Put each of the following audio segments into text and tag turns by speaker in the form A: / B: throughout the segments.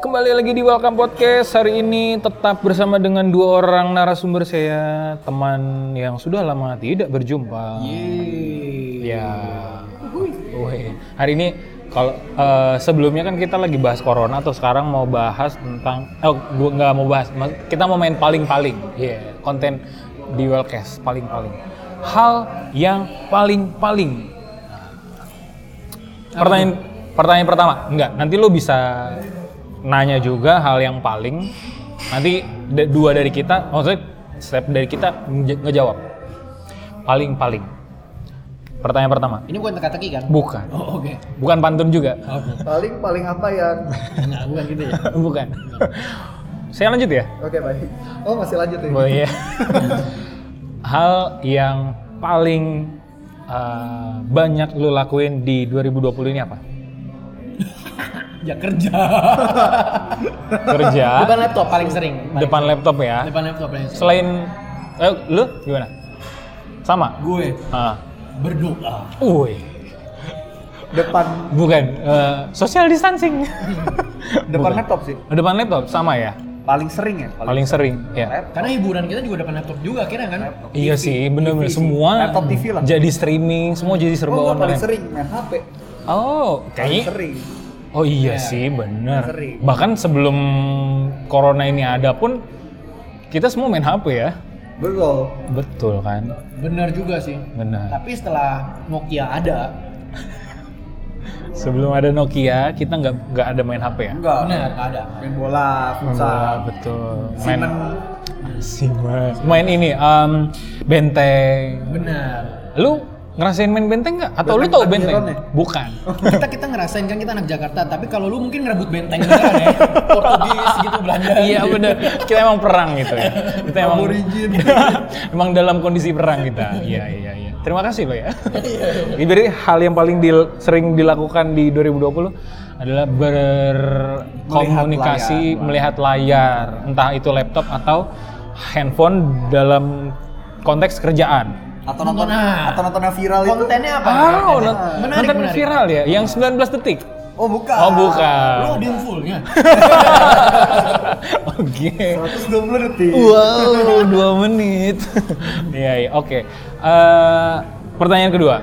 A: Kembali lagi di Welcome Podcast hari ini tetap bersama dengan dua orang narasumber saya teman yang sudah lama tidak berjumpa. Ya. Woi. Hari ini kalau eh, sebelumnya kan kita lagi bahas corona atau sekarang mau bahas tentang oh gua nggak mau bahas ma- kita mau main paling-paling. Iya, konten di Wellcast paling-paling. Hal yang paling-paling. Pertanyaan pertanyaan pertama. Enggak, nanti lo bisa nanya juga hal yang paling nanti d- dua dari kita maksudnya step dari kita nge- ngejawab. Paling-paling. Pertanyaan pertama.
B: Ini bukan teka-teki kan?
A: Bukan.
B: Oh, oke.
A: Bukan pantun juga.
C: paling paling apa ya? yang
B: Enggak, bukan gitu ya.
A: Bukan. Saya lanjut ya?
C: oke baik oh masih lanjut ya
A: Oh iya. Hal yang paling eh, banyak lu lakuin di 2020 ini apa?
B: Ya kerja.
A: Kerja
B: Depan laptop paling sering. Paling-
A: depan laptop ya.
B: Depan laptop paling sering.
A: Selain eh, lu gimana? Sama.
B: Gue
A: Ah.
B: berdoa.
A: Uy.
C: depan
A: Bukan eh, social distancing.
C: depan
A: Bukan. Oh,
C: laptop sih
A: Depan laptop sama ya.
C: paling sering ya
A: Paling sering ya.
C: Laptop.
B: Karena hiburan kita juga depan laptop juga kira kan?
A: Iya sih, bener-bener semua
C: Laptop TV lah.
A: jadi streaming, semua jadi
C: oh,
A: serba
C: gua paling
A: online.
C: sering main HP
A: Oh,
C: paling
A: kayaknya.
C: sering
A: Oh iya sih, bener.
C: Sering.
A: Bahkan sebelum corona ini ada pun kita semua main HP ya.
C: belum
A: Betul kan?
B: Benar juga sih.
A: Benar.
B: Tapi setelah Nokia ada,
A: Sebelum ada Nokia, kita nggak nggak ada main HP ya.
C: enggak
B: benar nggak ada.
C: main bola
A: Ah,
C: futsal
A: betul. Main Simen.
C: Simen
A: Main ini em, benteng.
B: Benar.
A: Lu ngerasain main benteng nggak? Atau lu
C: Benteng
A: tau
C: takbiran
A: benteng?
C: ya?
A: Bukan.
B: Kita kita ngerasain kan kita anak Jakarta, tapi kalau lu mungkin ngerebut benteng beneran ya. Portugis gitu Belanda.
A: iya bener. Kita emang perang gitu ya. Kita emang
C: Aborigin.
A: emang dalam kondisi perang kita. Iya iya iya. Terima kasih lo ya. Ini Berarti hal yang paling dil- sering dilakukan di 2020 adalah berkomunikasi melihat layar, entah itu laptop atau handphone dalam konteks kerjaan.
C: atau nonton
B: Nonton, ah.
A: Nah.
C: atau nonton yang viral itu
B: Kontennya apa?
A: Oh,
B: Kontennya?
A: nont-
B: menarik,
A: nonton
B: menarik.
A: viral ya, yang 19 detik.
C: oh bukan
A: Oh
B: Lu
A: bukan.
B: ada yang fullnya.
A: Oke.
C: 120 detik
A: Uh. Wow, dua menit. Iya, iya, oke. Eh, pertanyaan kedua,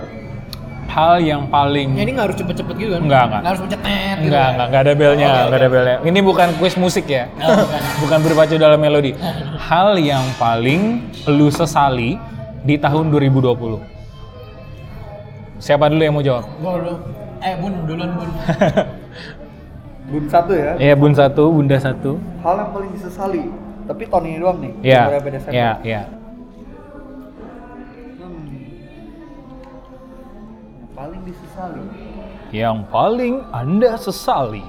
A: hal yang
B: Ya,
A: paling
B: ini nggak harus cepet-cepet gitu kan?
A: Enggak, enggak.
B: Nggak harus pencet net gitu
A: enggak
B: kan?
A: enggak enggak ada belnya,
B: Oke,
A: enggak ada belnya. Ini bukan kuis musik ya,
B: Oh, bukan.
A: bukan berpacu dalam melodi. Hal yang paling lu sesali di tahun 2020. Siapa dulu yang mau jawab?
B: Gua dulu. Eh, Bun, duluan Bun.
C: bun satu ya
A: Ya Bun satu, Bunda satu.
C: hal yang paling disesali tapi tahun ini doang nih
A: Ya,
C: beberapa Desember.
A: ya, ya.
C: Hmm. Yang paling disesali
A: Yang paling Anda sesali?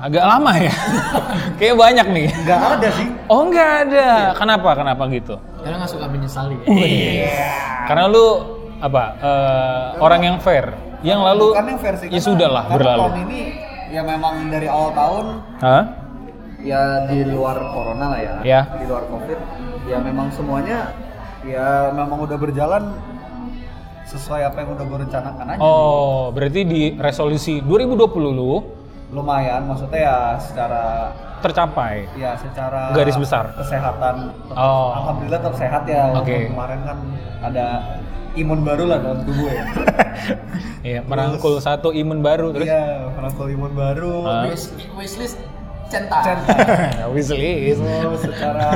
A: Agak lama ya. Kayak banyak nih.
C: nggak ada sih
A: Oh nggak ada. Kenapa? Kenapa gitu?
B: Karena nggak suka menyesali.
A: Oh, iya. Karena lu apa? eh, orang yang fair, yang lalu
C: bukan yang versi
A: ya
C: karena-
A: sudah lah
C: karena
A: berlalu.
C: tahun ini ya memang dari awal tahun
A: Hah?
C: ya di luar corona lah ya,
A: Ya.
C: di luar covid ya memang semuanya ya memang udah berjalan sesuai apa yang udah gue rencanakan aja
A: Oh, berarti di resolusi 2020 lu
C: lumayan maksudnya ya secara
A: tercapai.
C: ya secara
A: Garis besar.
C: kesehatan
A: Oh.
C: alhamdulillah tetap sehat ya walaupun
A: Oke.
C: kemarin kan ada imun baru lah dalam tubuh ya
A: Iya, merangkul satu imun baru terus. Ah.
C: iya merangkul imun baru
D: Eh,
A: Hah?
B: Wish, wishlist centang.
C: Centang.
A: Wishlist.
C: Terus Gitu, secara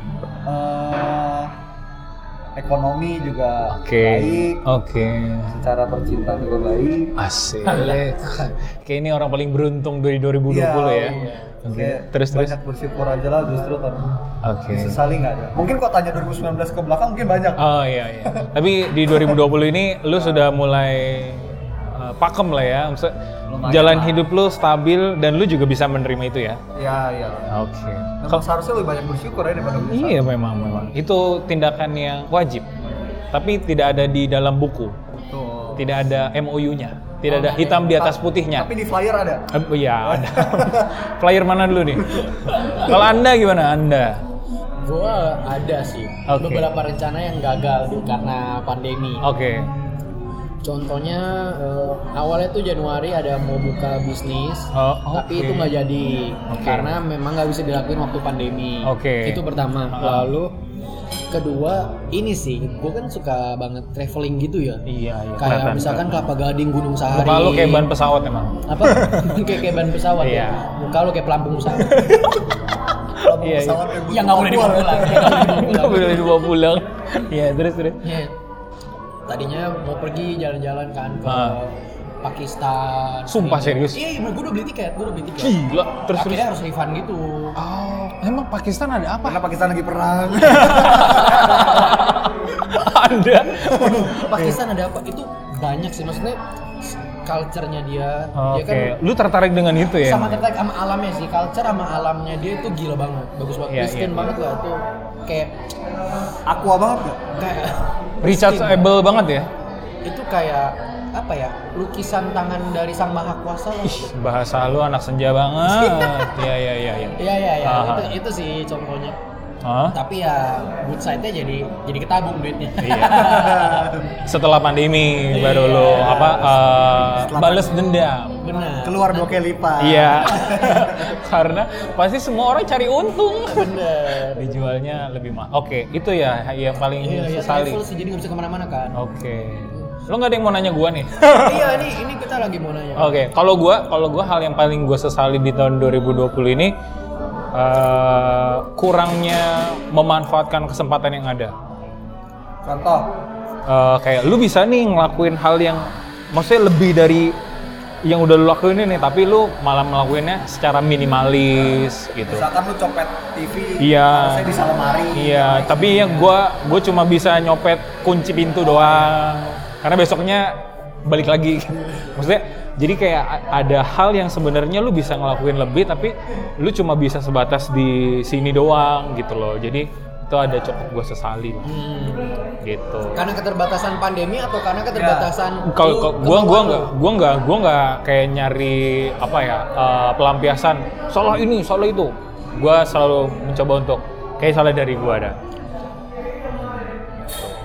C: eh, ekonomi juga
A: Oke.
C: baik,
A: Oke.
C: secara percintaan juga baik.
A: Asik. Kayak ini orang paling beruntung dari 2020 ya.
C: Iya.
A: Oke.
C: Kayak
A: Terus terus.
C: banyak bersyukur aja lah justru kan
A: Oke.
C: sesali nggak ada. Mungkin kalau tanya 2019 ke belakang mungkin banyak.
A: Oh iya iya. Tapi di 2020 ini lu sudah mulai uh, pakem lah ya. Maksud-
C: Lumayan
A: jalan
C: lah.
A: hidup lu stabil dan lu juga bisa menerima itu ya.
C: Ya ya.
A: Oke.
C: Memang seharusnya lebih banyak bersyukur ya daripada menyesal.
A: Iya memang memang. Itu tindakan yang wajib. Tapi tidak ada di dalam buku.
C: Betul.
A: Tidak ada MOU-nya. Tidak
C: Oh,
A: ada hitam di atas putihnya.
C: Tapi di flyer ada.
A: Eh, Iya, ada. Flyer mana dulu nih? Kalau Anda gimana Anda?
B: Gue ada sih
A: Oke.
B: beberapa rencana yang gagal tuh karena pandemi.
A: Oke.
D: Contohnya eh, awalnya tuh Januari ada mau buka bisnis,
A: Oh, oke.
D: tapi itu nggak jadi
A: Oke.
D: karena memang nggak bisa dilakuin waktu pandemi.
A: Oke.
D: Itu pertama.
A: Ah.
D: Lalu kedua ini sih, gue kan suka banget traveling gitu ya.
A: Iya, iya.
D: Kayak
A: kelihatan,
D: misalkan Kelapa Gading, Gunung Sahari.
A: Muka lu kayak ban pesawat emang.
D: apa? kayak kayak ban pesawat
A: Iya.
D: ya. Muka lu kayak pelampung pesawat.
A: Iya, iya.
D: yang nggak boleh dibawa pulang. yang nggak
A: Nggak
D: boleh dibawa pulang.
A: boleh dibawa pulang. Iya, terus terus.
D: Iya. Tadinya mau pergi jalan-jalan kan ke
A: Ah.
D: Pakistan.
A: Sumpah serius?
D: Iya, gue udah beli tiket, gue udah beli tiket.
A: Gila, terus terus.
D: Akhirnya harus refund gitu.
A: Oh, emang Pakistan ada apa?
C: Karena Pakistan lagi perang.
A: ada. Ah, iya.
D: Pakistan ada apa? Itu banyak sih maksudnya culture-nya dia.
A: Ah, Oke,
D: Dia kan
A: lu tertarik dengan itu ya?
D: sama tertarik sama alamnya sih. Culture sama alamnya dia itu gila banget. Bagus banget.
A: Iya,
D: Christian
A: iya.
D: banget lah itu. Kayak
C: Aqua banget gak?
D: kayak
A: Richard
D: Christian.
A: Abel banget ya?
D: itu kayak apa ya? Lukisan tangan dari Sang Maha Kuasa lah.
A: Ih, bahasa lu anak senja banget. Iya, iya, iya, iya.
D: Iya iya iya.
A: Aha.
D: Itu, itu sih contohnya.
A: Hah?
D: Tapi ya good side-nya jadi jadi ketabung duitnya.
A: Iya. Setelah pandemi baru
D: Iya.
A: lu apa eh,
C: Setelah
A: balas dendam.
D: Benar.
C: Keluar dua kali lipat.
A: Iya. Karena pasti semua orang cari untung.
D: Benar.
A: Dijualnya lebih mahal. Oke, itu ya yang paling
D: Iya, iya,
A: sesali.
D: travel sih jadi nggak bisa kemana-mana kan.
A: Oke. Lo nggak ada yang mau nanya gua nih?
D: iya ini ini kita lagi mau nanya.
A: Oke, kalau gua kalau gua hal yang paling gua sesali di tahun 2020 ini eh, kurangnya memanfaatkan kesempatan yang ada.
C: Contoh.
A: Eh, kayak lu bisa nih ngelakuin hal yang maksudnya lebih dari yang udah lu lakuin ini tapi lu malah melakuinnya secara minimalis gitu.
C: Misalkan lu copet TV.
A: Iya.
C: Harusnya bisa lemari.
A: Iya, tapi yang gua gua cuma bisa nyopet kunci pintu doang. Karena besoknya balik lagi. Maksudnya jadi kayak a- ada hal yang sebenarnya lu bisa ngelakuin lebih tapi lu cuma bisa sebatas di sini doang gitu loh. Jadi itu ada cukup gua sesali lah,
D: Hmm.
A: gitu.
D: Karena keterbatasan pandemi atau karena
A: Ya.
D: keterbatasan
A: Kalau
D: lu-
A: kalau gua gua
D: kemauan lu?
A: nggak gua nggak gua nggak kayak nyari apa ya eh, pelampiasan salah ini salah itu. Gua selalu mencoba untuk kayak salah dari gua ada.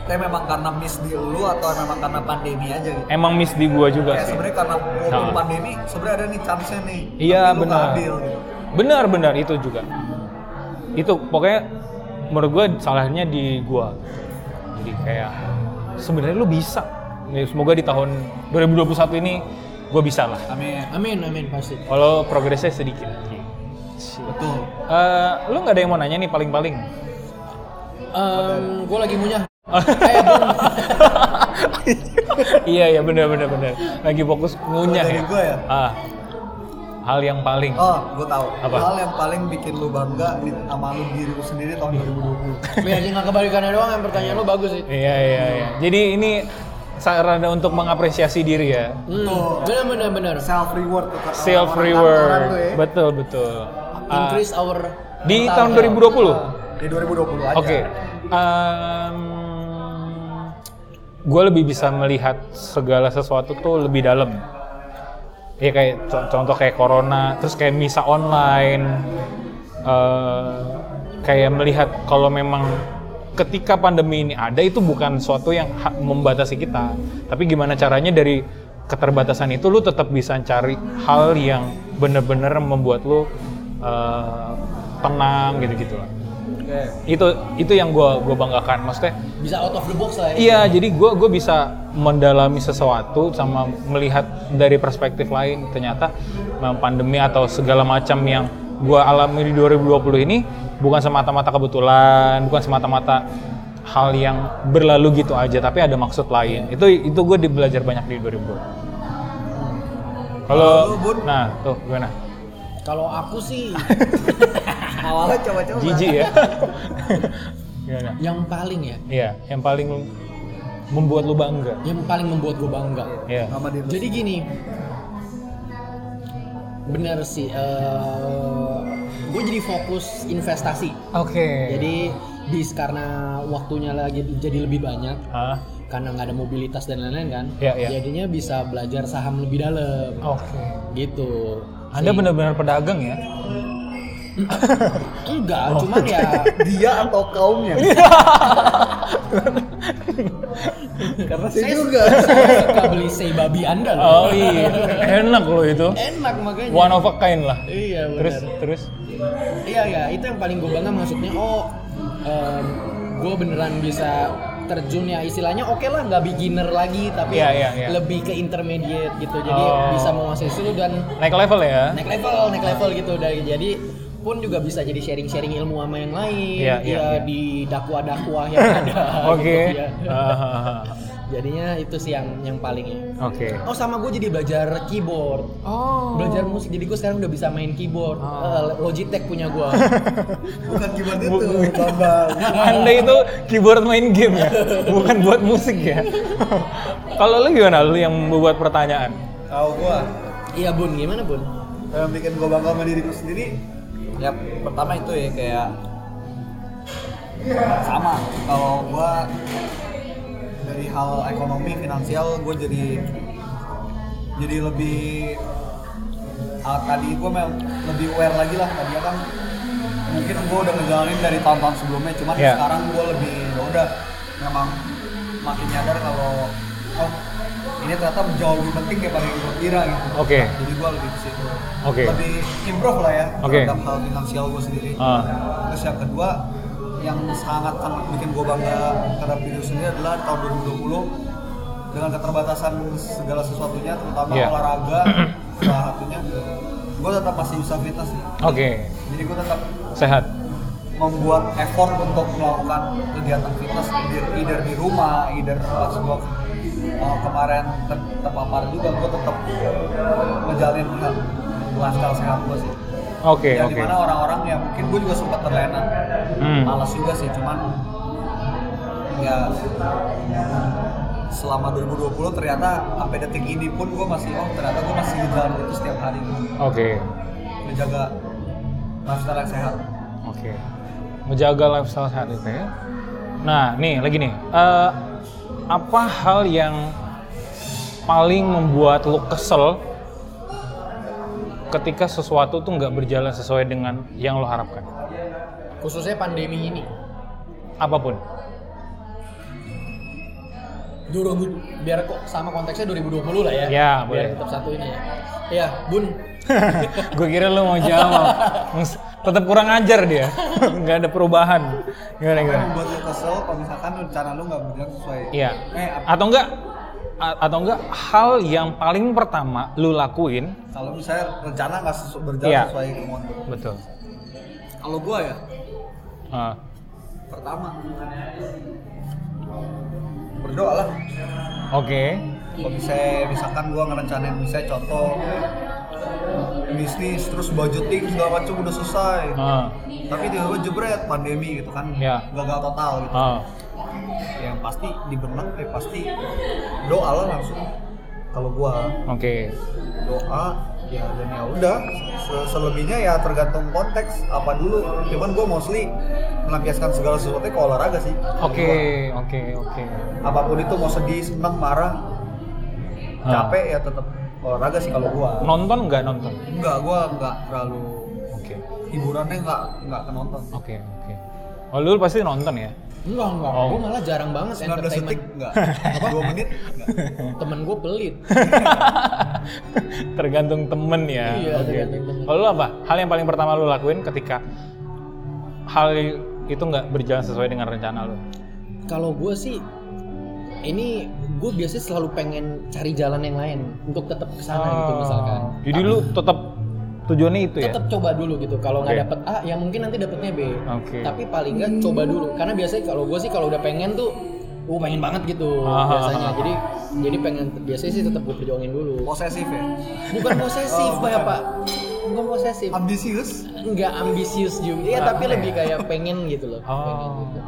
C: Tapi memang karena miss di lu atau memang karena pandemi aja gitu.
A: emang miss di gua juga
C: Kayak
A: Eh, sih.
C: sebenarnya karena
A: Nah.
C: ngomong pandemi, sebenarnya ada nih chance-nya nih.
A: Iya,
C: Tapi lu nggak
A: benar.
C: ambil, gitu.
A: Benar-benar itu juga. Itu pokoknya menurut gua salahnya di gua. Jadi kayak sebenarnya lu bisa. Ya, semoga di tahun 2021 ini gua bisa lah.
C: Amin.
D: Amin amin pasti.
A: Walau progresnya sedikit.
C: Betul.
A: Eh, lu nggak ada yang mau nanya nih paling-paling?
D: Em, gue lagi ngunyah. Eh, gua-
A: iya iya benar benar benar. Lagi fokus ngunyah ya.
C: Kalau dari gua ya?
A: Ah. hal yang paling.
C: Oh, gue tahu.
A: Apa?
C: Hal yang paling bikin lu bangga di, sama lu diri lu sendiri
A: Iya.
C: tahun 2020.
D: biar dia nggak kebalikannya doang. Yang pertanyaan lu bagus sih.
A: Iya iya iya. Jadi ini sarana untuk mengapresiasi diri ya.
D: Hmm, benar benar benar.
C: Self reward tuh kata
A: Self
C: orang-orang kantoran tuh ya.
A: reward. Betul betul. Ah,
D: Increase our
A: di
D: mental
A: tahun
D: health.
A: 2020. Oke.
C: Di 2020 aja.
A: gue lebih bisa melihat segala sesuatu tuh lebih dalam. Ya kayak co- contoh kayak corona, terus kayak misa online. Eh, kayak melihat kalau memang ketika pandemi ini ada itu bukan suatu yang ha- membatasi kita, tapi gimana caranya dari keterbatasan itu lu tetap bisa cari hal yang bener-bener membuat lu eh, tenang gitu-gitu lah
C: Oke.
A: itu itu yang gue gua banggakan maksudnya
D: bisa out of the box lah. ya.
A: iya jadi gue gue bisa mendalami sesuatu sama melihat dari perspektif lain ternyata memang pandemi atau segala macam yang gue alami di 2020 ini bukan semata-mata kebetulan bukan semata-mata hal yang berlalu gitu aja tapi ada maksud lain itu itu gue belajar banyak di 2020
C: Kalau lu,
A: kalau
C: Bun?
A: nah tuh gimana
D: Kalau aku sih
C: Awalnya coba-coba.
A: jijik ya gimana
D: yang paling ya,
A: Iya, yang paling membuat lu bangga.
D: yang paling membuat gue bangga.
A: Iya.
C: Sama diri lu.
D: Jadi gini, bener sih. gue jadi fokus investasi.
A: Oke.
D: Jadi bis karena waktunya lagi jadi lebih banyak
A: Hah?
D: karena nggak ada mobilitas dan lain-lain kan.
A: Iya, iya.
D: Jadinya bisa belajar saham lebih dalam
A: Oke.
D: gitu.
A: Anda
D: Sih.
A: benar-benar pedagang ya?
D: Enggak,
A: Oh.
D: cuman ya
C: Dia atau kaumnya?
A: Iya.
C: Karena saya
D: saya
C: juga.
D: saya suka beli sei babi Anda loh.
A: Oh iya, enak loh itu.
D: Enak makanya.
A: One of a kind lah.
D: Iya, benar.
A: Terus terus
D: Iya ya, itu yang paling gue bangga maksudnya oh gue beneran bisa terjun ya istilahnya oke lah nggak beginner lagi tapi
A: Iya, iya, iya.
D: lebih ke intermediate gitu jadi
A: Oh.
D: bisa menguasai dulu dan
A: naik level ya.
D: naik level naik level gitu dari jadi pun juga bisa jadi sharing sharing ilmu sama yang lain
A: Iya, iya, iya.
D: di dakwah dakwah yang ada gitu,
A: Oke.
D: ya.
A: Hahaha.
D: jadinya itu sih yang yang paling
A: Oke.
D: oh sama gue jadi belajar keyboard
A: Oh.
D: belajar musik jadi gue sekarang udah bisa main keyboard
A: Ah.
D: Eh, Logitech punya gue
C: Bukan gimana itu, Bambang.
A: Anda itu keyboard main game ya, bukan buat musik ya. Kalau lu gimana lu yang membuat pertanyaan?
C: Tahu gua.
D: iya bun gimana bun
C: Yang bikin gua bangga sama diriku sendiri ya pertama itu ya kayak sama kalau gua dari hal ekonomi finansial gua jadi jadi lebih ah, tadi gua mem- lebih aware lagi lah tadi kan mungkin gua udah ngejalanin dari tahun-tahun sebelumnya cuman
A: Iya.
C: sekarang gua lebih ya udah memang makin nyadar kalau oh ini ternyata jauh lebih penting daripada yang gua kira gitu
A: Oke.
C: jadi gue lebih ke situ
A: Oke.
C: lebih improve lah ya
A: Oke.
C: terhadap hal finansial gue sendiri
A: Ah.
C: terus yang kedua yang sangat sangat bikin gue bangga terhadap diri sendiri adalah tahun 2020 dengan keterbatasan segala sesuatunya terutama
A: Iya.
C: olahraga salah satunya gue tetap masih bisa fitness sih
A: Oke.
C: jadi gue tetap
A: Sehat.
C: membuat effort untuk melakukan kegiatan fitness either, either di rumah, either pas gua uh, kemarin ter- terpapar juga gua tetap ngejalanin health- lifestyle sehat gua sih.
A: Oke,
C: yang
A: oke.
C: dimana orang-orang ya mungkin gua juga sempat terlena,
A: Hmm.
C: malas juga sih, cuman ya selama 2020 ternyata sampai detik ini pun gua masih oh ternyata gua masih ngejalanin itu setiap hari
A: Oke.
C: menjaga lifestyle yang sehat.
A: Oke. Menjaga lifestyle sehat itu ya. Nah, nih lagi nih. Eh, apa hal yang paling membuat lo kesel ketika sesuatu tuh nggak berjalan sesuai dengan yang lo harapkan?
D: khususnya pandemi ini
A: Apapun.
D: 2000 biar kok sama konteksnya 2020 lah ya
A: Ya,
D: biar
A: boleh.
D: tetap satu ini ya ya bun
A: Gue kira lo mau jawab. Nges- Tetap kurang ajar dia. nggak ada perubahan. Gimana
C: Apa
A: gimana?
C: yang membuat lu kesel kalau misalkan rencana lu nggak berjalan sesuai
A: Iya.
C: eh apa-
A: Atau enggak? a- atau enggak hal yang paling pertama lu lakuin?
C: kalau misalnya rencana nggak sesu- berjalan
A: Iya.
C: sesuai kemauan lu.
A: Betul.
C: kalau gua ya
A: Ah.
C: pertama berdoa lah
A: Oke.
C: kalau misalnya misalkan gua ngerencanain misalnya contoh bisnis terus budgeting segala macam udah selesai
A: Ah.
C: tapi tiba-tiba jebret pandemi gitu kan
A: Iya.
C: gagal total gitu
A: Ah.
C: yang pasti di benak ya pasti doa lah langsung kalau gua
A: Oke.
C: doa ya dan ya udah Se- selebihnya ya tergantung konteks apa dulu cuman gue mostly melampiaskan segala sesuatu ke olahraga sih
A: Oke, oke, oke.
C: apapun itu mau sedih senang marah
A: Ah.
C: capek ya tetap olahraga sih kalau gue
A: Nonton nggak nonton?
C: enggak gue enggak terlalu
A: Oke.
C: hiburannya enggak enggak ke nonton
A: Oke, oke. Oh, lu pasti nonton ya?
D: enggak enggak
A: Oh.
D: gue malah jarang banget
C: 19 detik
D: entertainment
C: enggak 2 menit enggak
A: ya?
D: temen gue pelit
A: tergantung temen ya.
D: Iya,
A: Oke.
D: tergantung temen.
A: Kalau lu apa? Hal yang paling pertama lu lakuin ketika hal itu nggak berjalan sesuai dengan rencana lu?
D: kalau gue sih ini gue biasanya selalu pengen cari jalan yang lain untuk tetap kesana gitu misalkan
A: Oh. Jadi lu tetap tujuannya itu ya?
D: tetap coba dulu gitu kalau nggak
A: Oke.
D: dapet A ya mungkin nanti dapetnya B
A: Oke.
D: tapi paling nggak coba dulu karena biasanya kalau gue sih kalau udah pengen tuh gue pengen banget gitu
A: Ah.
D: biasanya jadi jadi pengen biasanya sih tetap gue perjuangin dulu
C: posesif ya
D: bukan posesif
C: Oh,
D: ya
C: bukan.
D: pak bukan posesif
C: ambisius
D: nggak ambisius juga ya tapi lebih kayak pengen gitu loh pengen
A: Oh.
D: gitu.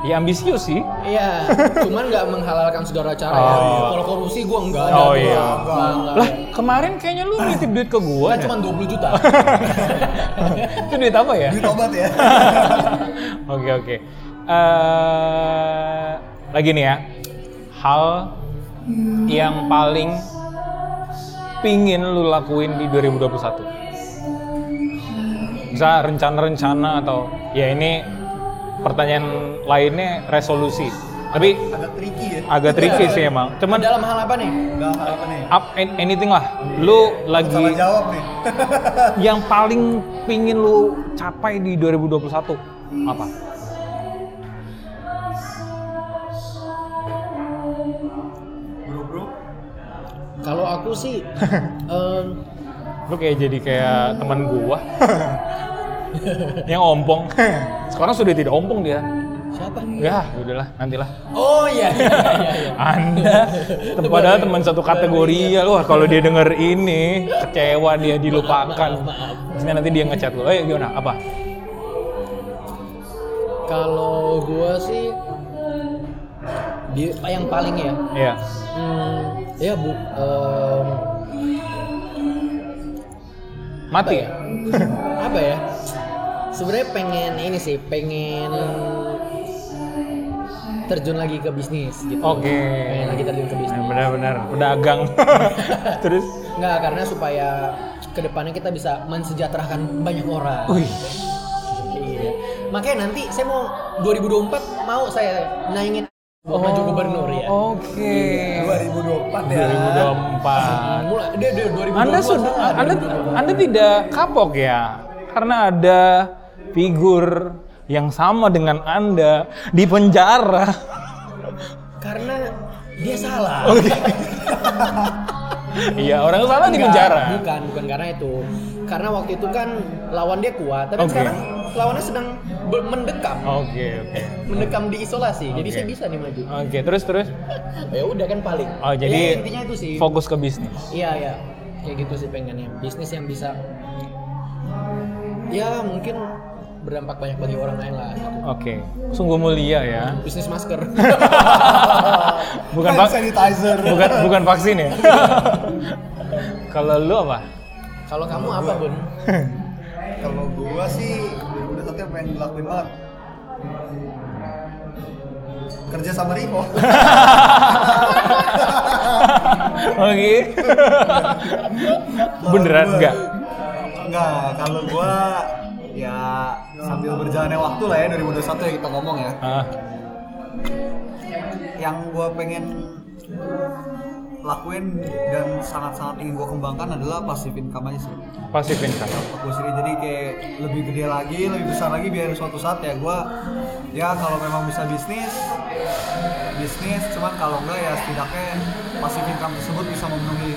A: Ya ambisius sih.
D: Iya, cuman nggak menghalalkan saudara cara ya.
A: Oh.
D: Kalau korupsi gue enggak ada.
A: Oh,
D: gua.
A: iya.
D: Enggak, enggak.
A: Lah, kemarin kayaknya lu nitip duit ke gua.
D: Kan
A: deh.
D: cuma 20 juta.
A: itu duit apa ya?
C: duit obat ya
A: Oke oke. Eh, lagi nih ya, hal yang paling pingin lu lakuin di 2021. bisa rencana-rencana atau ya ini pertanyaan lainnya resolusi. Tapi
C: agak tricky ya
A: agak tricky sih emang. Cuman
D: Dalam hal apa nih?
C: dalam hal apa nih
A: up an- anything lah. Lu
C: salah
A: lagi
C: jawab nih
A: yang paling pingin lu capai di 2021 apa?
C: bro bro
D: Kalau aku sih eh,
A: Lu kayak jadi kayak teman gua. yang ompong. Sekarang sudah tidak ompong dia.
D: siapa?
A: Ya, udahlah, nantilah.
D: Oh iya iya iya. iya.
A: Anda tem- padahal teman satu kategori ya lu Wah, kalau dia denger ini kecewa dia dilupakan. Maksudnya nanti dia ngechat lu, "Eh, gimana? Apa?"
D: Kalau gua sih di yang paling ya
A: Iya.
D: hmm, ya bu em,
A: Mati ya?
D: apa ya sebenarnya pengen ini sih pengen terjun lagi ke bisnis gitu
A: Oke.
D: pengen lagi terjun ke bisnis
A: Benar-benar pedagang. Terus
D: nggak karena supaya kedepannya kita bisa mensejahterakan banyak orang
A: Wih,
D: Iya. makanya nanti saya mau 2024 mau saya naingin buat maju gubernur ya Iya.
A: Oke.
C: 2024 ya
A: 2024.
D: mulai dia dia 2024
A: Anda sudah
D: salah,
A: Anda
D: 2024.
A: Anda tidak kapok ya? Karena ada figur yang sama dengan Anda di penjara.
D: karena dia salah
A: Iya, orang Oh, salah di penjara.
D: bukan bukan karena itu karena waktu itu kan lawan dia kuat tapi
A: Oke.
D: sekarang lawannya sedang ber- mendekam
A: Oke, oke.
D: mendekam di isolasi jadi
A: Oke.
D: saya bisa nih maju
A: Oke, terus terus.
D: ya udah kan paling
A: Oh,
D: Ya,
A: jadi
D: intinya itu sih
A: fokus ke bisnis.
D: Iya ya, kayak gitu sih pengennya. Bisnis yang bisa, ya mungkin berdampak banyak bagi orang lain lah.
A: Oke. Sungguh mulia ya.
D: Bisnis masker.
A: Bukan
C: Hand
A: vak-
C: sanitizer
A: bukan bukan vaksin ya. Kalau lu apa?
D: Kalau kamu apa bun?
C: kalau gua sih 2021 yang pengen dilakuin banget kerja sama Riko
A: Oke. Beneran
C: Kalau gua-
A: enggak?
C: Enggak, kalau gua ya sambil berjalannya waktu lah ya 2021 yang kita ngomong ya.
A: Ah,
C: Yang gua pengen lakuin dan sangat-sangat ingin gua kembangkan adalah passive income aja sih.
A: passive income.
C: Gua sendiri jadi kayak lebih gede lagi, lebih besar lagi biar suatu saat ya gua ya kalau memang bisa bisnis bisnis cuman kalau enggak ya setidaknya passive income tersebut bisa memenuhi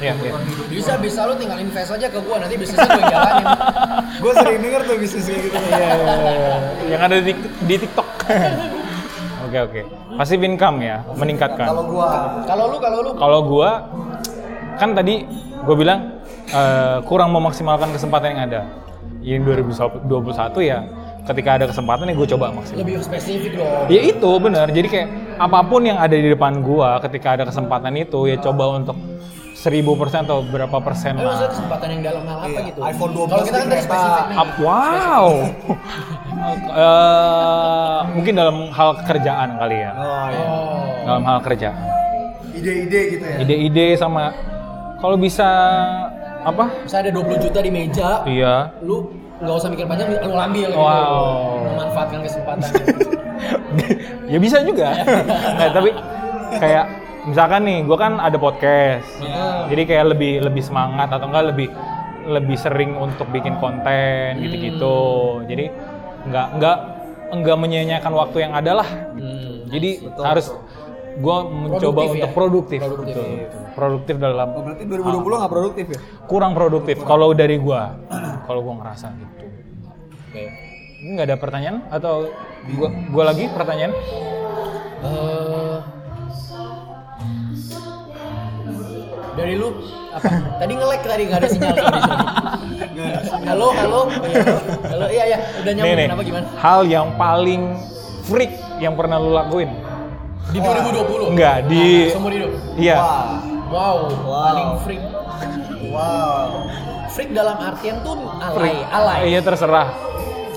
A: Iya, iya.
C: kebutuhan hidup
D: Bisa bisa lu tinggal invest aja ke gua nanti bisnisnya gua yang jalanin.
C: gue sering denger tuh bisnis kayak gitu ya
A: Yang ada di, di TikTok. Oke, oke. Passive income ya, meningkatkan.
C: kalau gua
D: Kalau lu kalau lu
A: kalau gua kan tadi gua bilang eh, kurang memaksimalkan kesempatan yang ada. Yang 2021 ya ketika ada kesempatan ya gua coba maksimal.
D: lebih spesifik dong.
A: Ya itu benar. Jadi kayak apapun yang ada di depan gua ketika ada kesempatan itu ya coba untuk 1000% atau berapa persen
D: Tapi maksudnya
A: lah.
D: kesempatan yang dalam hal apa
C: Iya,
D: gitu?
C: iPhone 12
D: Kalau kita kan
C: di
D: tadi
C: kereta.
D: spesifik nih.
A: Up- wow. Eh, mungkin dalam hal kerjaan kali ya.
C: Oh, iya.
D: Oh.
A: Dalam hal kerjaan.
C: ide-ide gitu ya.
A: Ide-ide sama kalau bisa apa?
D: Misalnya ada 20 juta di meja,
A: Iya.
D: lu nggak usah mikir panjang, lu ambil gitu.
A: Wow.
D: Memanfaatkan kesempatan.
A: ya bisa juga. Nah, tapi kayak misalkan nih, gue kan ada podcast. Jadi kayak lebih lebih semangat atau enggak lebih lebih sering untuk bikin konten gitu-gitu. Jadi nggak nggak enggak menyanyiakan waktu yang ada lah.
D: Hmm.
A: Jadi harus gue mencoba
D: Produktif ya?
A: untuk produktif,
D: Produktif.
A: betul. produktif dalam
C: Oh, berarti 2020 nggak produktif ya?
A: kurang produktif kalau dari gue, kalau gue ngerasa gitu.
D: Oke.
A: Ini nggak ada pertanyaan atau gue gua lagi pertanyaan?
D: Eh, dari lu apa? Tadi nge-lag tadi nggak ada sinyal. sorry, sorry. halo, halo. Iya, Halo, iya iya, udah nyambung.
A: Nih, nih,
D: Kenapa gimana?
A: Hal yang paling freak yang pernah lu lakuin?
D: Di 2020.
A: Enggak, di-
D: Ah, seumur hidup.
A: Iya.
C: Wah,
D: Wow, paling freak.
C: wow.
D: Freak dalam artian tuh alay,
A: Freak.
D: alay.
A: Iya terserah.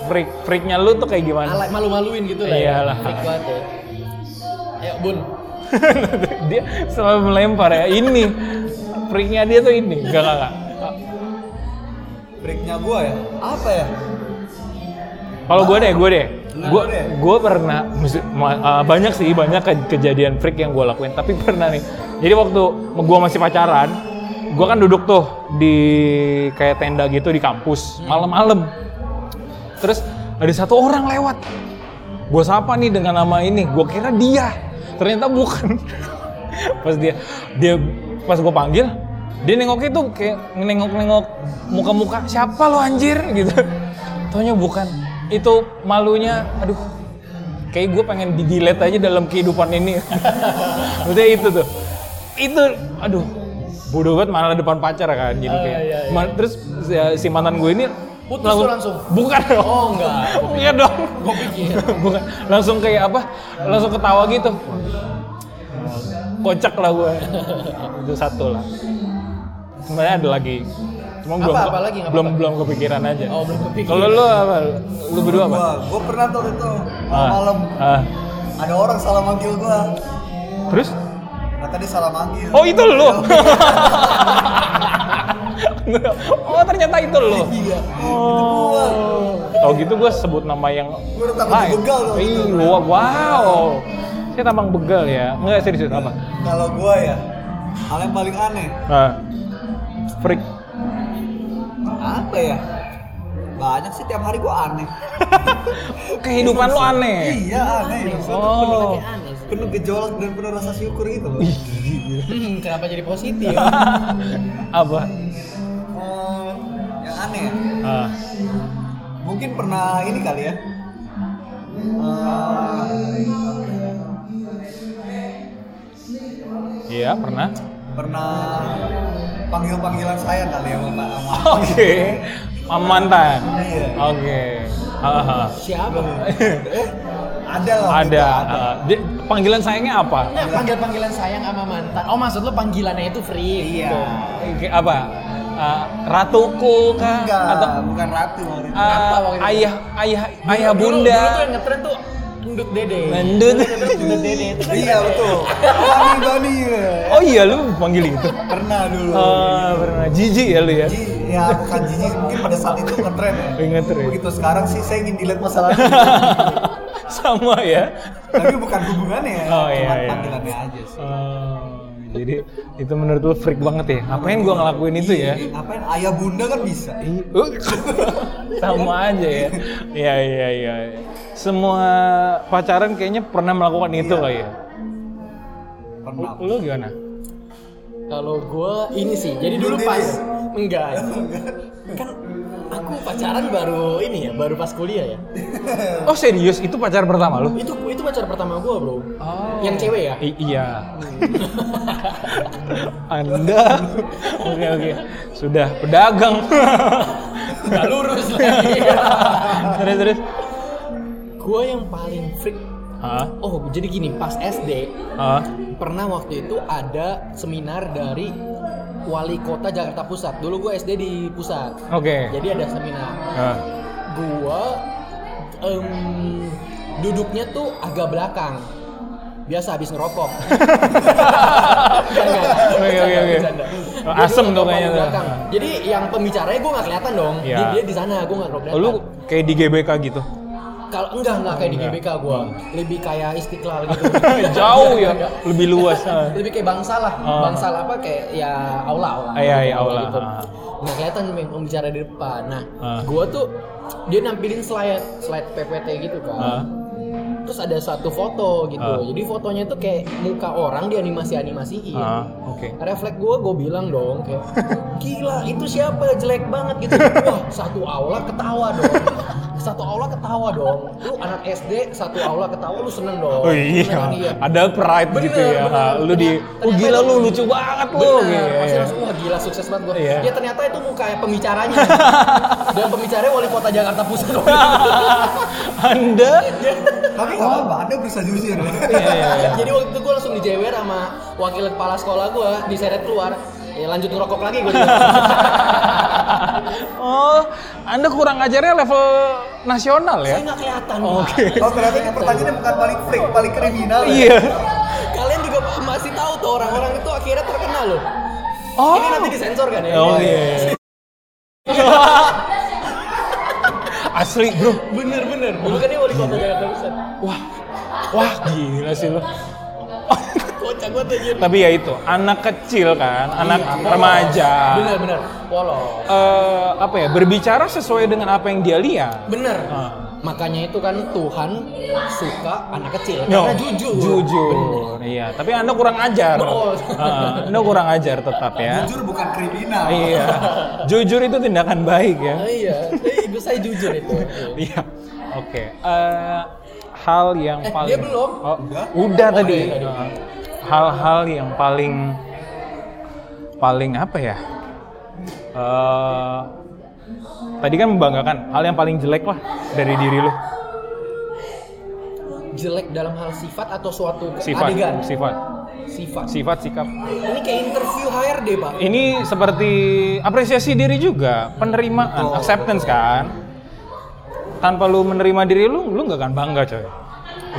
A: Freak, freaknya lu tuh kayak gimana?
D: Alay malu-maluin gitu lah. ya.
A: Iyalah.
D: Freak banget ya. Ayo, Bun.
A: dia selalu melempar ya. Ini freaknya dia tuh ini. Enggak, enggak, enggak.
C: breaknya gue ya apa ya
A: Kalau gue deh, gue deh.
C: Nah,
A: Gue
C: lu deh.
A: gue pernah mesti- ma- uh, banyak sih banyak ke- kejadian freak yang gue lakuin, tapi pernah nih. Jadi waktu gue masih pacaran, gue kan duduk tuh di kayak tenda gitu di kampus malam-malam. Terus ada satu orang lewat. Gue sapa nih dengan nama ini. Gue kira dia, ternyata bukan. pas dia dia pas gue panggil, dia nengok itu kayak nengok-nengok muka-muka siapa lo anjir gitu. Taunya bukan. Itu malunya, aduh. Kayak gue pengen digilet aja dalam kehidupan ini. Maksudnya itu tuh. Itu, aduh. Bodoh banget malah depan pacar kan gitu kayak. Ma- Terus ya, si mantan gue ini
D: Ah, iya, Putus tuh langsung?
A: Bukan dong.
D: Oh enggak.
A: Bukan Iya dong.
D: Gue pikir.
A: Bukan. Langsung kayak apa? Langsung ketawa gitu. Kocak lah gue. Itu satu lah. Sebenarnya ada lagi. Cuma
D: Apa,
A: belum
D: apa lagi? Apa,
A: belum
D: apa?
A: belum kepikiran aja.
D: Oh belum kepikiran.
A: Kalau lu apa? Lu berdua apa?
C: gue gue pernah tuh itu
A: Ah,
C: malam
A: ah.
C: ada orang salah manggil gue
A: Terus?
C: kata dia salah manggil Iya.
A: Oh itu lu. oh ternyata itu lu.
C: iya
A: Oh. Tau gitu gue sebut nama yang
C: Gua udah tambah begal loh.
A: Ih, wow, wow. Saya tambang begal ya. Enggak serius apa?
C: kalau gue ya hal yang paling aneh
A: Ah. Freak.
C: apa ya banyak sih tiap hari gue aneh
A: Kehidupan lo aneh.
C: iya aneh
A: Oh.
C: penuh gejolak dan penuh rasa syukur gitu loh
D: Hmm, kenapa jadi positif?
A: apa?
C: Eh, yang aneh ya?
A: Ah.
C: mungkin pernah ini kali ya Eh,
A: Iya, pernah.
C: pernah panggil panggilan saya kali ya sama sama
A: Oke. Sama Mantan.
C: Iya.
A: Oke. Ah.
D: Siapa?
C: ada lah
A: Ada.
C: gitu,
A: ah. Di- panggilan sayangnya apa?
D: Nah, panggil-panggilan sayang sama mantan. Oh, maksud lo panggilannya itu free. gitu.
C: iya
A: Oke, Apa? Ah, ratuku kah?
C: enggak
A: Atau
C: bukan ratu waktu itu.
A: ah,
D: Apa waktu itu?
A: ayah ayah ayah
D: Dulu-
A: bunda.
D: Dulu, tuh yang ngetren tuh Ndut Dede.
A: Mendut.
D: Terus Ndut Dede itu kan
C: iya betul Bani Bani ya.
A: Oh iya lu panggil gitu.
C: pernah dulu
A: Eh pernah jijik ya lu ya.
C: Ji, ya bukan jijik mungkin pada saat itu ngetren ya
A: Ingat ya.
C: begitu sekarang sih saya ingin dilihat masa lalu
A: Sama ya.
C: tapi bukan hubungannya ya
A: Oh, iya,
C: cuma
A: iya.
C: panggilannya aja sih
A: Eh, jadi itu menurut lu freak banget ya. Ngapain gua ngelakuin itu ya?
C: ngapain ayah bunda kan bisa
A: Ih, uh, Sama aja ya. Iya iya iya. iya. Semua pacaran kayaknya pernah melakukan itu
D: Iya.
A: kali ya.
C: pernah
A: Lu- Lu gimana?
D: Kalau gue ini sih, jadi dulu
C: Bunuh
D: pas
C: diri.
D: enggak kan aku pacaran baru ini ya, baru pas kuliah ya.
A: Oh serius itu pacar pertama lu?
D: Itu itu pacar pertama gue bro, yang cewek ya.
A: I- iya. Anda. Oke oke. Sudah pedagang.
D: Gak lurus lagi.
A: terus terus.
D: gue yang paling freak.
A: Hah?
D: Oh jadi gini pas SD
A: Hah?
D: pernah waktu itu ada seminar dari wali kota Jakarta Pusat. Dulu gue SD di pusat.
A: Oke.
D: Jadi ada seminar.
A: Hah?
D: gua em, duduknya tuh agak belakang biasa habis ngerokok
A: Oke, oke, oke. Asem tuh kayaknya tuh.
D: belakang. jadi yang pembicaranya gua nggak kelihatan dong
A: Iya.
D: dia, dia di sana gua nggak
A: Oh,
D: kelihatan
A: lu kayak di GBK gitu.
D: kalau enggak enggak kayak di
A: Enggak. Hmm.
D: GBK gua lebih kayak istiqlal gitu
A: Jauh ya,
D: Enggak.
A: lebih luas. ah.
D: lebih kayak bangsa lah
A: Ah.
D: bangsa lah apa kayak ya aula aula
A: Ah, iya, iya, aula.
D: gitu.
A: Ah.
D: nggak kelihatan mem- pembicara di depan nah
A: Ah.
D: gua tuh dia nampilin slide slide PPT gitu kan
A: Hah?
D: terus ada satu foto gitu
A: Ah.
D: jadi fotonya tuh kayak muka orang di animasi animasiin
A: Hah? Oke.
D: refleks gue gue bilang dong kayak gila itu siapa jelek banget gitu wah satu aula ketawa dong satu aula ketawa dong lu anak SD satu aula ketawa lu seneng dong
A: Oh
D: Seneng kan,
A: iya, ada pride
D: Bener,
A: gitu ya.
D: bener.
A: Ah, Lu di,
D: Ternyata-
A: oh gila
D: ternyata-
A: lu lucu banget lu.
D: Bener,
A: Iya,
D: pasti
A: iya.
D: langsung, wah gila sukses banget gue.
A: Iya.
D: Ya ternyata itu muka pembicaranya. Dan pembicaranya wali kota Jakarta Pusat.
A: Iya, Anda?
C: tapi nggak apa-apa ada bisa jujur ya.
A: Iya, iya, iya.
D: Jadi waktu itu gue langsung dijewer sama wakil kepala sekolah gue, diseret keluar. Ya lanjut ngerokok lagi gue.
A: Oh, Anda kurang ajarnya level nasional ya?
D: Saya nggak kelihatan.
A: Oke.
D: Pak.
C: oh ternyata ini pertanyaannya bukan paling freak paling kriminal ya?
A: Iya.
D: Kalian juga masih tahu tuh orang-orang itu akhirnya terkenal loh.
A: Oh. iya,
D: Ini nanti disensor kan ya?
A: Oh iya. iya. Asli bro.
D: bener bener bukan kan dia wali
A: Iya.
D: kota Jakarta Pusat
A: Wah, wah gila sih lo.
D: kocak banget anjir
A: Tapi ya itu, anak kecil kan, anak remaja.
D: Iya, bener bener polos
A: Eh, apa ya berbicara sesuai dengan apa yang dia lihat.
D: Bener.
A: Ah.
D: Makanya itu kan Tuhan suka anak kecil
A: No.
D: karena jujur.
A: Jujur. Iya, tapi Anda kurang ajar.
D: Betul.
A: Ah, anda kurang ajar tetap ya.
C: Jujur bukan kriminal.
A: iya. Jujur itu tindakan baik ya.
D: Ah, iya, eh, ibu saya jujur itu.
A: Iya. Oke. Eh, hal yang
D: Eh,
A: paling
D: dia belum.
A: Oh,
C: Udah.
A: udah
D: Oh,
A: tadi.
D: iya, tadi.
A: Nah, Hal-hal yang paling paling apa ya? Eh, tadi kan membanggakan. Hal yang paling jelek lah dari diri lu.
D: Jelek dalam hal sifat atau suatu
A: Sifat,
D: adegan.
A: sifat,
D: Sifat.
A: sifat, sikap.
D: Ini kayak interview HRD, Pak.
A: Ini seperti apresiasi diri juga, penerimaan, acceptance kan. Tanpa lu menerima diri lu, lu nggak akan bangga coy.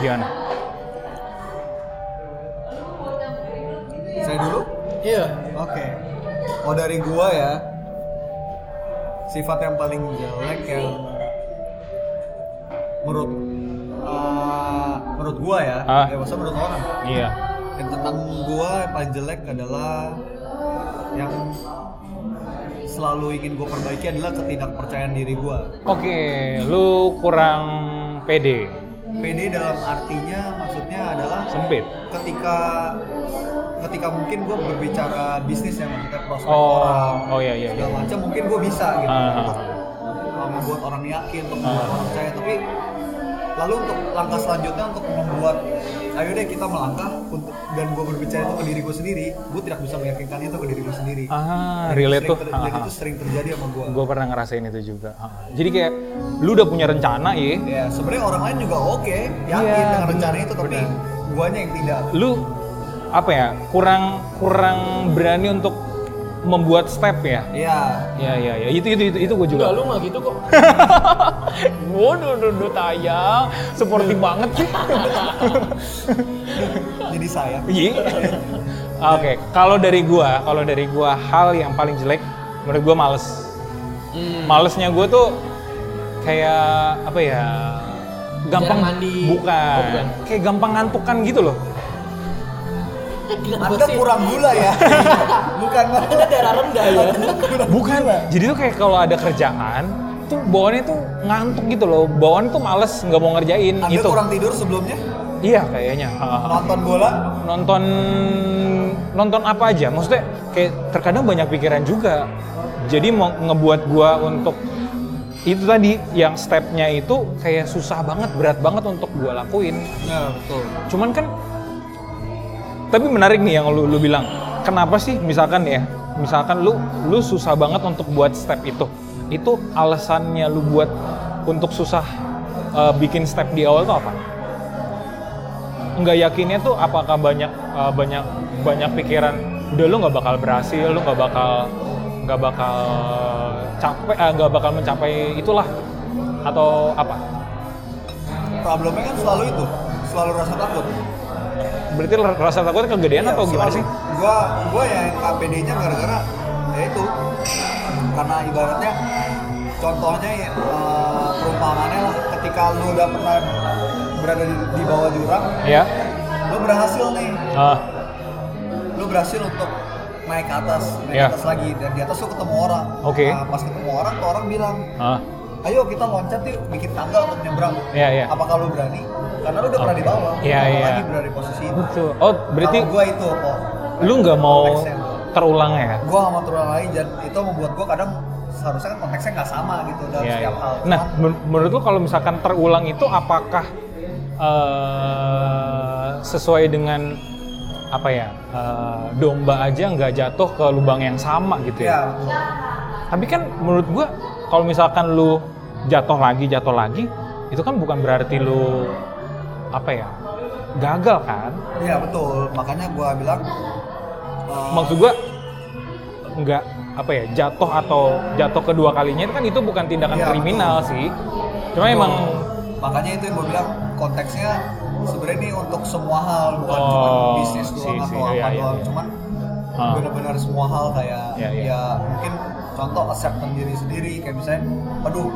A: Gimana?
C: Saya dulu.
D: Iya.
C: Oke. Oh dari gua ya. Sifat yang paling jelek yang menurut eh, menurut gua ya,
A: Ah.
C: ya masa menurut orang.
A: Iya.
C: Yang tentang gua yang paling jelek adalah yang selalu ingin gua perbaiki adalah ketidakpercayaan diri gua.
A: Oke, lu kurang pede,
C: PD dalam artinya maksudnya adalah
A: sempit.
C: ketika ketika mungkin gue berbicara bisnis yang terkait prospek
A: Oh,
C: orang
A: oh iya, iya,
C: segala macam mungkin gue bisa gitu
A: Ah.
C: untuk uh, membuat orang yakin untuk membuat
A: Ah.
C: orang percaya tapi lalu untuk langkah selanjutnya untuk membuat ayo deh kita melangkah untuk, dan gue berbicara itu ke diri gue sendiri gue tidak bisa meyakinkan itu ke diri gue sendiri
A: Ah,
C: Dan itu
A: relate
C: sering
A: tuh.
C: ter-
A: Ah,
C: dan
A: ah.
C: itu sering terjadi sama gue
A: Gue pernah ngerasain itu juga. Ah. Jadi kayak lu udah punya rencana ya,
C: ya sebenarnya orang lain juga oke yakin
A: Iya,
C: dengan
A: bener,
C: rencana itu tapi
A: bener.
C: guanya yang tidak
A: lu apa ya kurang kurang berani untuk membuat step ya.
C: ya
A: Ya ya ya itu itu itu, itu gue juga.
D: Enggak lu mah gitu kok.
A: Waduh, Oh, duh, duh, tayang, seperti banget sih.
C: jadi saya
A: Iya. Oke, kalau dari gua, kalau dari gua hal yang paling jelek menurut gua males.
D: Hmm.
A: Malesnya gua tuh kayak apa ya? Gampang
D: Jarang mandi.
A: Bukan.
D: Oh, bukan.
A: Kayak gampang ngantukan gitu loh.
D: Kenapa
C: Anda
D: sih?
C: kurang gula ya? Bukan Iya.
D: Anda darah rendah ya.
A: Bukan. Jadi tuh kayak kalau ada kerjaan tuh bawaannya tuh ngantuk gitu loh. Bawaan tuh males nggak mau ngerjain
C: Anda
A: gitu.
C: kurang tidur sebelumnya?
A: Iya kayaknya. Ha.
C: Nonton bola?
A: nonton nonton apa aja maksudnya kayak terkadang banyak pikiran juga jadi mau ngebuat gua untuk itu tadi yang stepnya itu kayak susah banget berat banget untuk gua lakuin
C: Nah, betul.
A: cuman kan tapi menarik nih yang lu, lu bilang kenapa sih misalkan ya misalkan lu lu susah banget untuk buat step itu itu alasannya lu buat untuk susah eh, bikin step di awal tuh apa nggak yakinnya tuh apakah banyak eh, banyak banyak pikiran udah lu nggak bakal berhasil lu nggak bakal nggak bakal capek eh, nggak bakal mencapai itulah atau apa
C: Problemnya kan selalu itu, selalu rasa takut. Iya,
A: berarti rasa takutnya kegedean atau gimana sih
C: Gua, gua ya yang KPD-nya gara-gara ya itu. Karena ibaratnya contohnya ya, eh, perumpamannya lah ketika lu udah pernah berada di, di bawah jurang,
A: ya
C: lu berhasil nih.
A: Ah.
C: Lu berhasil untuk naik ke atas, naik
A: Iya.
C: ke atas lagi dan di atas lu ketemu orang.
A: Oke.
C: Nah, pas ketemu orang, tuh orang bilang,
A: Ah,
C: ayo kita loncat yuk bikin tangga untuk nyebrang
A: Iya, iya.
C: apakah lu berani karena lu udah pernah di bawah
A: Iya,
C: Kapan
A: iya.
C: lagi berada di posisi itu
A: betul. Oh, berarti
C: Kalau gua itu kok
A: lu nggak mau
C: konteksnya.
A: terulang ya?
C: gua sama orang lain dan itu membuat gua kadang seharusnya kan konteksnya nggak sama gitu dalam
A: Iya, iya.
C: setiap hal
A: Nah, men- menurut lu kalau misalkan terulang itu apakah eh, sesuai dengan apa ya eh, domba aja nggak jatuh ke lubang yang sama gitu
C: ya
A: ya? Tapi kan menurut gua kalau misalkan lu jatuh lagi jatuh lagi itu kan bukan berarti lu apa ya gagal kan?
C: ya betul makanya gua bilang eh,
A: maksud gua nggak apa ya jatuh atau jatuh kedua kalinya itu kan itu bukan tindakan
C: Iya,
A: kriminal sih cuma emang
C: makanya itu yang gua bilang konteksnya sebenarnya ini untuk semua hal bukan
A: Oh,
C: cuma bisnis doang
A: sih,
C: atau
A: sih.
C: apa
A: Iya, iya,
C: doang
A: iya.
C: cuman
A: Ah.
C: benar-benar semua hal kayak
A: Iya, iya.
C: ya mungkin contoh acceptance diri sendiri kayak misalnya aduh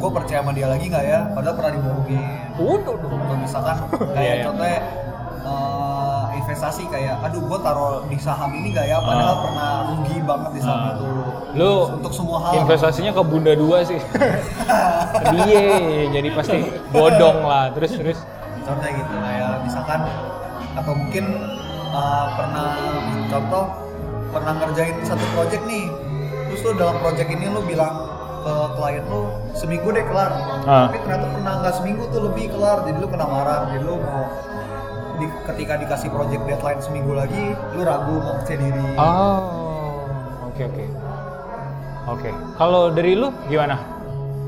C: gue percaya sama dia lagi nggak ya padahal pernah dibohongin
A: Waduh,
C: atau misalkan
A: Iya,
C: kayak
A: iya.
C: contohnya eh, investasi kayak aduh gue taruh di saham ini nggak ya padahal
A: Ah.
C: pernah rugi banget di saham
A: Ah.
C: itu
A: Lu
C: Terus untuk semua hal
A: investasinya ke bunda dua sih. Iya, jadi pasti bodong lah. Terus terus.
C: contohnya gitu kayak misalkan atau mungkin eh, pernah contoh pernah ngerjain satu project nih terus lu dalam project ini lu bilang ke klien lu seminggu deh kelar
A: Ah.
C: tapi ternyata pernah nggak seminggu tuh lebih kelar jadi lu kena marah jadi lu mau di- ketika dikasih project deadline seminggu lagi lu ragu mau percaya diri
A: Oh, oke oke. Oke, kalau dari lu gimana?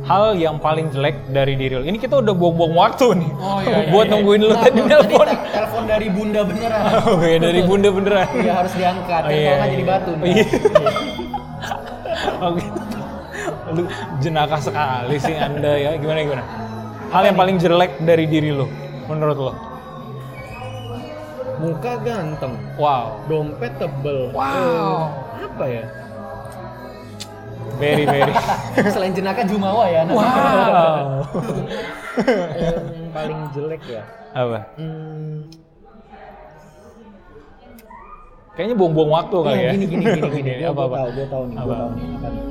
A: Hal yang paling jelek dari diri lu. Ini kita udah buang-buang waktu nih. iya,
D: Oh, iya,
A: buat nungguin lu
B: Nah,
A: tadi telepon.
B: Telepon dari bunda beneran.
A: Oke, dari bunda beneran.
B: Iya harus diangkat,
A: Oh,
B: kan
A: iya,
B: kalau nggak
A: iya.
B: jadi batu. ntar.
A: Iya. Oke. Lu jenaka sekali sih Anda ya. Gimana gimana? Hal yang paling jelek dari diri lu menurut lo?
D: Muka ganteng,
A: Wow.
D: dompet tebel.
A: Wow.
D: Apa ya?
A: Very very.
B: Selain jenaka Jumawa ya. nah.
A: Wow.
D: Em, yang paling jelek ya.
A: Apa?
D: Hmm,
A: Kayaknya buang-buang waktu kali
D: Iya,
A: ya.
D: Gini gini gini gini.
A: apa apa?
D: Gue tahu, gue tahu nih, gue
A: Apa?
D: tahu nih. apa nih.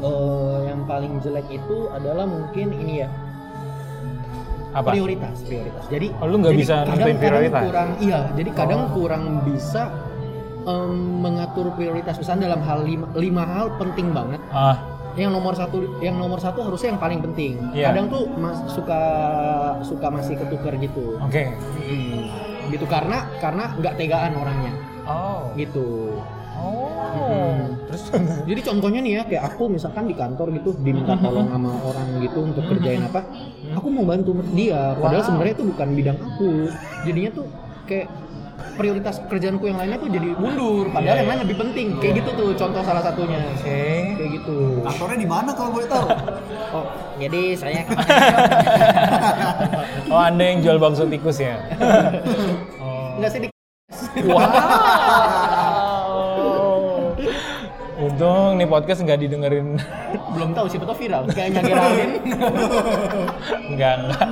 D: Eh, yang paling jelek itu adalah mungkin ini ya
A: Apa?
D: prioritas prioritas. Jadi
A: Oh, lu nggak
D: jadi
A: bisa nentuin
D: kadang- kadang
A: prioritas?
D: Kurang iya. Jadi kadang
A: Oh.
D: kurang bisa em, mengatur prioritas. Misalnya dalam hal lima, lima hal penting banget.
A: Ah,
D: yang nomor satu yang nomor satu harusnya yang paling penting
A: Iya.
D: kadang tuh mas- suka suka masih ketukar gitu
A: oke.
D: Mm.
A: hmm.
D: gitu karena karena nggak tegaan orangnya
A: Oh.
D: gitu
A: Oh. Terus
D: jadi contohnya nih ya kayak aku misalkan di kantor gitu diminta
A: Mm-hmm.
D: tolong sama orang gitu untuk kerjain apa aku mau bantu dia padahal
A: Wow.
D: sebenarnya itu bukan bidang aku jadinya tuh kayak prioritas kerjaanku yang lainnya tuh jadi mundur padahal
A: Iya,
D: yang lain lebih penting kayak gitu tuh contoh salah satunya
A: oke.
D: kayak gitu
C: kantornya di mana kalau boleh tahu
D: oh jadi saya
A: Oh, Anda yang jual bakso tikus ya? oh.
D: nggak sih di
A: Wow. Untung nih podcast nggak didengerin.
D: belum tahu siapa tau viral
A: Iya.
D: kayaknya Geraldin
A: Enggak, enggak.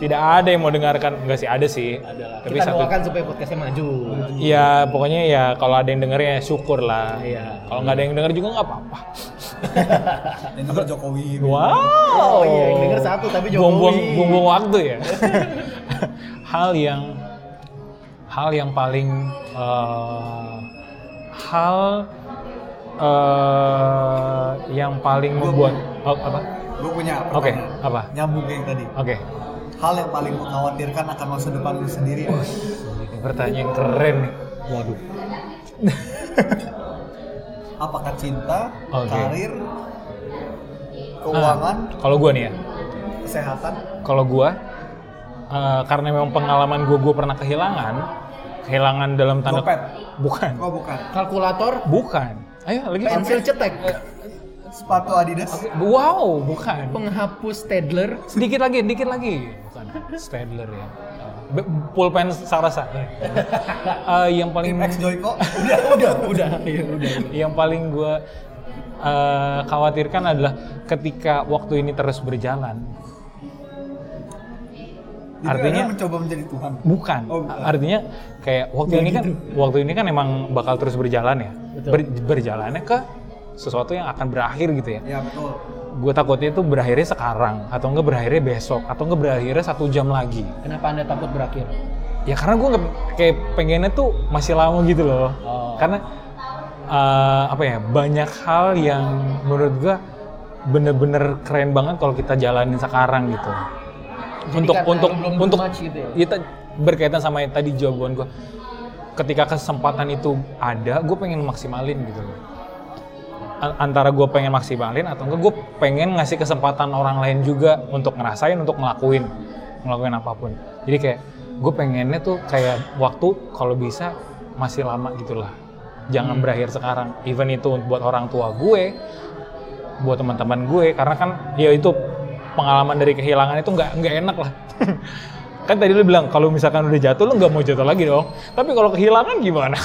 A: Tidak ada yang mau dengarkan. Enggak sih, ada sih.
D: adalah
A: Tapi
D: kita
A: satu.
D: doakan supaya podcastnya maju
A: Ya, pokoknya ya kalau ada yang dengerin ya syukur lah.
D: Iya.
A: Kalau nggak ada yang denger juga nggak apa-apa.
C: yang juga Jokowi
A: Wow.
D: Oh, iya, yang denger satu, tapi Jokowi.
A: Buang-buang, buang-buang waktu ya. hal yang hal yang paling eh, hal eh, yang paling membuat oh, apa?
C: gue punya pertanyaan.
A: Oke, apa?
C: nyambung kayak yang tadi
A: Oke.
C: hal yang paling mengkhawatirkan akan masa depan lu sendiri
A: Ini pertanyaan keren nih. Ah,
D: waduh
C: apakah cinta,
A: Oke.
C: karir, keuangan,
A: Ah, kalau gua nih ya.
C: kesehatan,
A: kalau gua eh, karena memang pengalaman gua gua pernah kehilangan kehilangan dalam tanda
C: Dompet.
A: bukan
C: oh bukan,
D: kalkulator
A: bukan ayo lagi
D: pensil cetek
A: Iya.
C: sepatu Adidas,
A: wow bukan
D: penghapus Stedler
A: sedikit lagi sedikit lagi bukan Stadler ya Be- pulpen Sarasa Eh, yang paling
C: Tim X Joyko,
D: udah udah udah
A: iya.
D: ya udah
A: yang paling gue khawatirkan adalah ketika waktu ini terus berjalan
C: Jadi
A: Artinya-
C: Anda kan mencoba menjadi Tuhan.
A: Bukan.
C: Oh, bukan.
A: Artinya kayak waktu ini kan waktu ini kan emang bakal terus berjalan ya.
D: Betul.
A: Ber- berjalannya ke sesuatu yang akan berakhir gitu ya.
C: Ya betul.
A: Gue takutnya itu berakhirnya sekarang atau enggak berakhirnya besok atau enggak berakhirnya satu jam lagi.
D: kenapa anda takut berakhir
A: Ya karena gue kayak pengennya tuh masih lama gitu loh.
D: Oh.
A: Karena eh, apa ya banyak hal yang menurut gue bener-bener keren banget kalau kita jalanin sekarang gitu.
D: Jadi
A: untuk
D: karena
A: untuk
D: belum
A: untuk
D: match gitu ya?
A: kita berkaitan sama yang tadi jawaban gue ketika kesempatan itu ada gue pengen maksimalin gitu loh A- antara gue pengen maksimalin atau enggak gue pengen ngasih kesempatan orang lain juga untuk ngerasain untuk ngelakuin ngelakuin apapun jadi kayak gue pengennya tuh kayak waktu kalau bisa masih lama gitulah jangan
D: Hmm.
A: berakhir sekarang even itu buat orang tua gue buat teman-teman gue karena kan ya itu pengalaman dari kehilangan itu nggak nggak enak lah kan tadi lu bilang kalau misalkan udah jatuh lu nggak mau jatuh lagi dong tapi kalau kehilangan gimana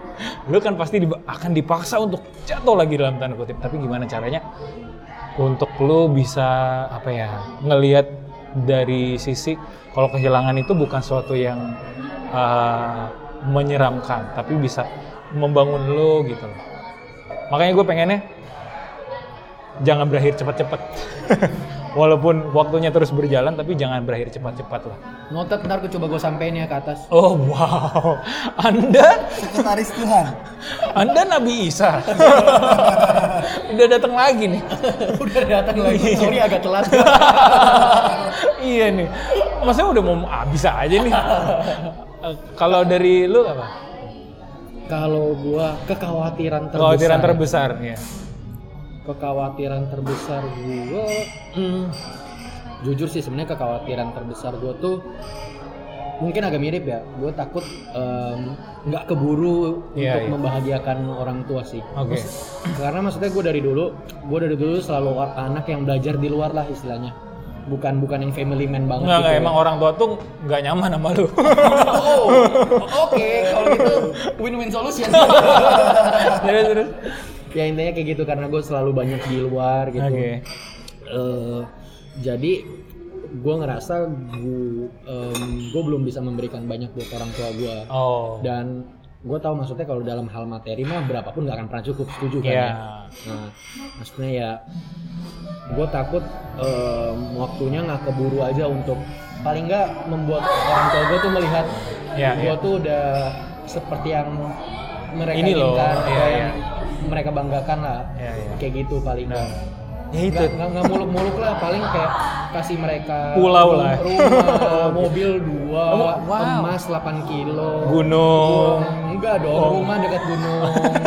A: lu kan pasti di- akan dipaksa untuk jatuh lagi dalam tanda kutip tapi gimana caranya untuk lu bisa apa ya ngelihat dari sisi kalau kehilangan itu bukan suatu yang uh, menyeramkan tapi bisa membangun lu gitu loh. Makanya gue pengennya jangan berakhir cepat-cepat. Walaupun waktunya terus berjalan tapi jangan berakhir cepat-cepat lah.
D: Notet ntar gue coba gue sampein ya ke atas.
A: Oh wow, Anda,
C: Sekretaris Tuhan.
A: Anda Nabi Isa. Udah datang lagi nih.
D: Udah datang lagi. Sorry agak telat.
A: iya nih, maksudnya udah mau habis aja nih. Eh, Kalau dari lu apa?
D: Kalau gua kekhawatiran terbesar.
A: Kekhawatiran terbesar ya.
D: Kekhawatiran terbesar gua hmm, jujur sih sebenarnya kekhawatiran terbesar gua tuh mungkin agak mirip ya. Gua takut em, nggak keburu
A: Iya,
D: untuk
A: iya.
D: membahagiakan orang tua sih.
A: Oke.
D: karena maksudnya gue dari dulu gue dari dulu selalu anak yang belajar di luar lah istilahnya bukan bukan yang family man banget
A: Enggak, enggak,
D: gitu ya.
A: emang orang tua tuh nggak nyaman sama lu.
D: oh oke kalau gitu win win solution
A: terus, terus.
D: ya intinya kayak gitu karena gue selalu banyak di luar gitu
A: Oke.
D: Eh, jadi gue ngerasa gue gue belum bisa memberikan banyak buat orang tua gue
A: Oh.
D: dan gue tahu maksudnya kalau dalam hal materi mah berapapun nggak akan pernah cukup setuju kan
A: Iya.
D: ya Nah, maksudnya ya gue takut em, waktunya nggak keburu aja untuk paling nggak membuat orang tua gue tuh melihat
A: Iya,
D: gue
A: iya.
D: tuh udah seperti yang mereka
A: Ini loh,
D: inginkan,
A: iya,
D: apa
A: iya.
D: yang mereka banggakan lah,
A: Iya, iya.
D: kayak gitu paling.
A: Nah,
D: nggak
A: ya itu.
D: Nggak- nggak muluk-muluk lah, paling kayak kasih mereka
A: Pulau lah.
D: rumah, mobil dua,
A: Oh, wow.
D: emas 8 kilo,
A: Gunung.
D: enggak dong,
A: Oh.
D: rumah dekat gunung,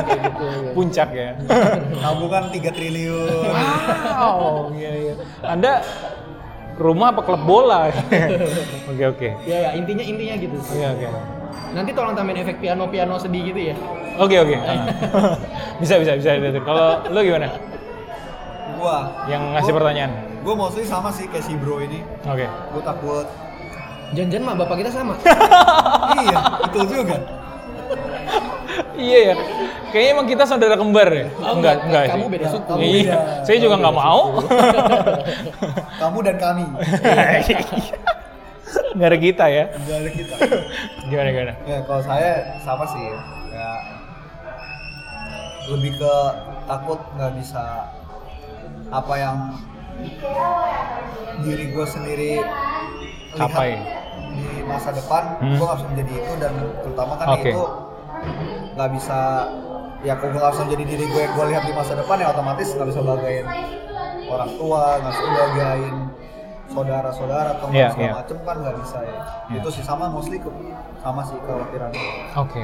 D: kayak gitu.
A: Puncak ya.
C: Tabungan 3 triliun.
A: Wow. Iya, iya. Anda rumah apa klub bola? Oke, oke.
D: Ya, ya intinya intinya gitu sih.
A: Iya, oke.
D: Nanti tolong tambahin efek piano piano sedih gitu ya.
A: Oke, oke. Ah. Bisa, bisa, bisa. bisa. Kalau lu gimana?
C: Gua,
A: Yang ngasih pertanyaan.
C: gua mostly sama sih kayak si bro ini.
A: Oke.
C: Gua takut.
D: Janjian mah bapak kita sama.
C: iya, betul juga.
A: Iya ya. Kayaknya emang kita saudara kembar ya? enggak,
D: Oh,
A: enggak,
D: enggak. Kamu
A: sih.
D: beda suku.
A: Iya.
C: Kamu
A: Saya juga nggak mau.
C: Kamu dan kami.
A: Nggak ada kita ya.
C: Enggak ada kita.
A: Gimana gimana?
C: Ya, kalau saya sama sih. Ya, lebih ke takut nggak bisa apa yang diri gue sendiri lihat
A: Capai.
C: di masa depan
A: Hmm.
C: gue nggak bisa menjadi itu dan terutama kan
A: Oke.
C: itu nggak bisa ya kalau gue nggak bisa menjadi diri gue yang gue lihat di masa depan ya otomatis nggak bisa banggain orang tua nggak bisa banggain saudara-saudara atau
A: Iya,
C: segala
A: iya.
C: macem kan nggak bisa ya
A: Iya.
C: itu sih sama mostly ke- sama sih kekhawatiran gue.
A: Oke.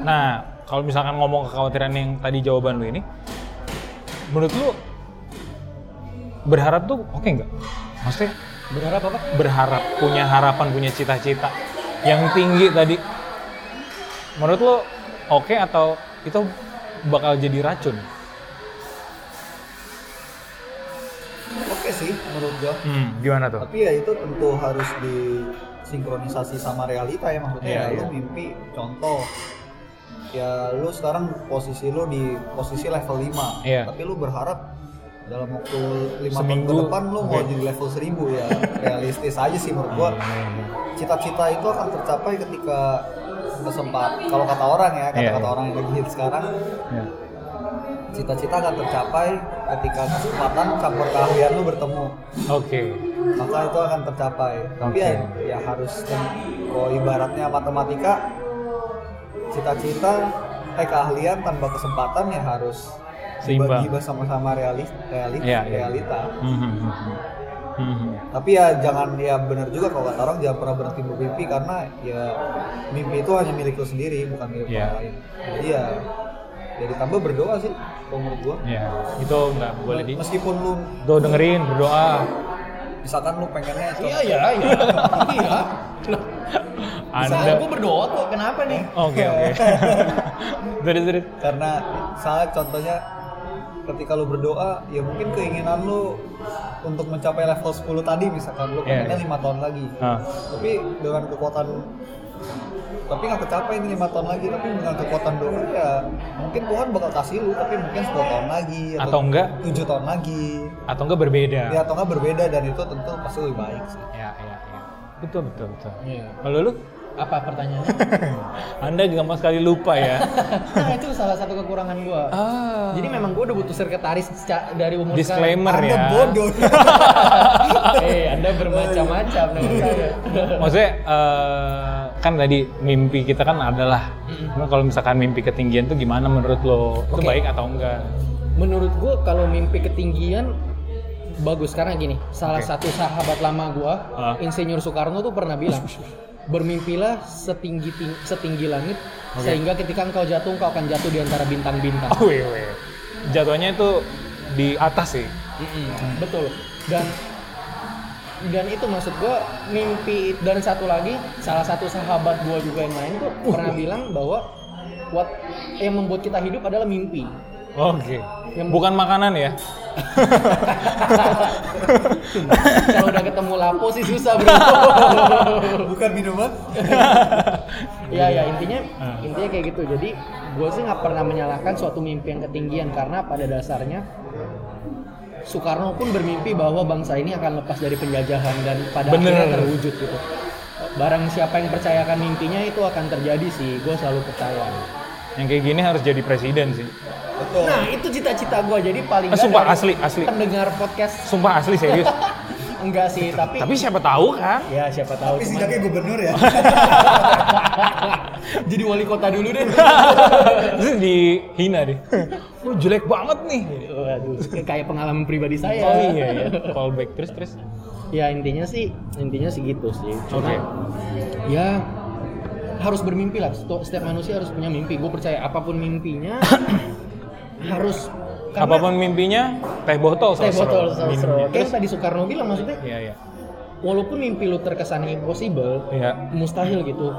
A: Nah, kalau misalkan ngomong kekhawatiran yang tadi jawaban lu ini, menurut lu berharap tuh oke nggak? Maksudnya
D: Berharap apa?
A: berharap punya harapan punya cita-cita yang tinggi tadi menurut lo oke atau itu bakal jadi racun
C: oke sih menurut gue
A: hmm, gimana tuh
C: tapi ya itu tentu harus disinkronisasi sama realita ya maksudnya
A: Iya,
C: ya
A: iya.
C: lu mimpi contoh ya lu sekarang posisi lu di posisi level 5
A: Iya.
C: tapi lu berharap dalam waktu lima tahun
A: Seminggu, Iya.
C: ke depan lu mau
A: oke.
C: jadi level 1000 ya realistis aja sih menurut
A: Iya,
C: gua cita-cita itu akan tercapai ketika kesempat kalau kata orang ya
A: Iya,
C: kata-kata
A: iya.
C: orang yang lagi hit sekarang
A: Ya.
C: cita-cita akan tercapai ketika kesempatan campur keahlian lu bertemu
A: oke
C: maka itu akan tercapai. Tapi ya,
A: Oke.
C: ya harus tem- kalau ibaratnya matematika cita-cita eh keahlian tanpa kesempatan ya harus
A: Seimbang.
C: dibagi sama-sama realis, realis-
A: Iya, iya.
C: realita.
A: Mhm, mhm. Mhm.
C: Tapi ya jangan ya benar juga kalau kata orang jangan pernah berhenti bermimpi karena ya mimpi itu hanya milik lu sendiri bukan milik
A: Iya.
C: orang lain. Jadi ya ya ditambah berdoa sih kalau menurut gua.
A: ya itu nggak boleh di
C: Meskipun lu
A: tuh dengerin berdoa
C: misalkan lu pengennya itu
D: Iya ya, iya. Iya. Saya
A: anda Oh,
D: gue berdoa kok. Kenapa nih?
A: oke oke terus terus
C: karena saat contohnya ketika lu berdoa ya mungkin keinginan lu untuk mencapai level 10 tadi misalkan lu
A: Iya,
C: pengennya
A: iya.
C: lima tahun lagi
A: Ah.
C: tapi dengan kekuatan tapi nggak kecapai ini lima tahun lagi tapi dengan kekuatan doa ya mungkin Tuhan bakal kasih lu tapi mungkin 10 tahun lagi
A: Atau enggak.
C: tujuh tahun lagi
A: atau enggak berbeda
C: ya atau enggak berbeda dan itu tentu pasti lebih baik sih
A: ya ya ya betul betul betul
D: Iya.
A: kalau lu
D: Apa pertanyaannya?
A: anda gampang sekali lupa ya
D: nah, itu salah satu kekurangan gua.
A: ah
D: Jadi memang gua udah butuh sekretaris ca- dari umur
A: disclaimer
C: Anda
A: ya
C: bodoh
D: sekarang. Eh, Anda bermacam-macam dengan saya.
A: maksudnya eh, kan tadi mimpi kita kan adalah Cuma kalau misalkan mimpi ketinggian tuh gimana menurut lo itu
D: Oke.
A: baik atau enggak
D: Menurut gua kalau mimpi ketinggian bagus karena gini, salah
A: Oke.
D: satu sahabat lama gua,
A: Ah.
D: Insinyur Soekarno tuh pernah bilang, bermimpilah setinggi ting- setinggi langit sehingga ketika engkau jatuh engkau akan jatuh di antara bintang-bintang.
A: oh weh, weh. jatuhnya itu di atas sih
D: Mm-mm, betul. Dan dan itu maksud gua mimpi dan satu lagi salah satu sahabat gua juga yang lain tuh
A: Oh.
D: pernah bilang bahwa what yang membuat kita hidup adalah mimpi.
A: oke
D: Yang-
A: bukan makanan ya
D: Kalau udah ketemu lapo sih susah bro.
C: bukan minuman
D: ya ya intinya
A: Ah.
D: intinya kayak gitu. Jadi gua sih nggak pernah menyalahkan suatu mimpi yang ketinggian karena pada dasarnya Soekarno pun bermimpi bahwa bangsa ini akan lepas dari penjajahan dan pada
A: Bener.
D: akhirnya terwujud gitu. Barang siapa yang percayakan mimpinya itu akan terjadi sih, gue selalu percaya.
A: yang kayak gini harus jadi presiden sih
C: betul
D: Nah itu cita-cita gue, jadi paling
A: Eh,
D: nggak
A: sumpah,
D: dari
A: asli, asli.
D: pendengar podcast
A: sumpah asli serius
D: enggak sih, tapi,
A: tapi siapa tahu kan
D: ya siapa tahu.
C: tapi
D: cuman-
C: sidaknya gubernur ya
D: jadi wali kota dulu deh.
A: Terus dihina deh. Lu jelek banget nih.
D: Waduh, kayak pengalaman pribadi saya.
A: Oh iya iya. Call back terus terus.
D: Ya intinya sih, intinya sih gitu sih. Cuma
A: Oke.
D: ya harus bermimpi lah. Sto- Setiap manusia harus punya mimpi. Gue percaya apapun mimpinya harus
A: Apapun mimpinya teh botol
D: teh
A: sosro.
D: botol sosro.
A: Minum.
D: Kayak
A: Terus
D: yang tadi Soekarno bilang maksudnya,
A: iya iya.
D: walaupun mimpi lu terkesan impossible,
A: Iya.
D: mustahil gitu.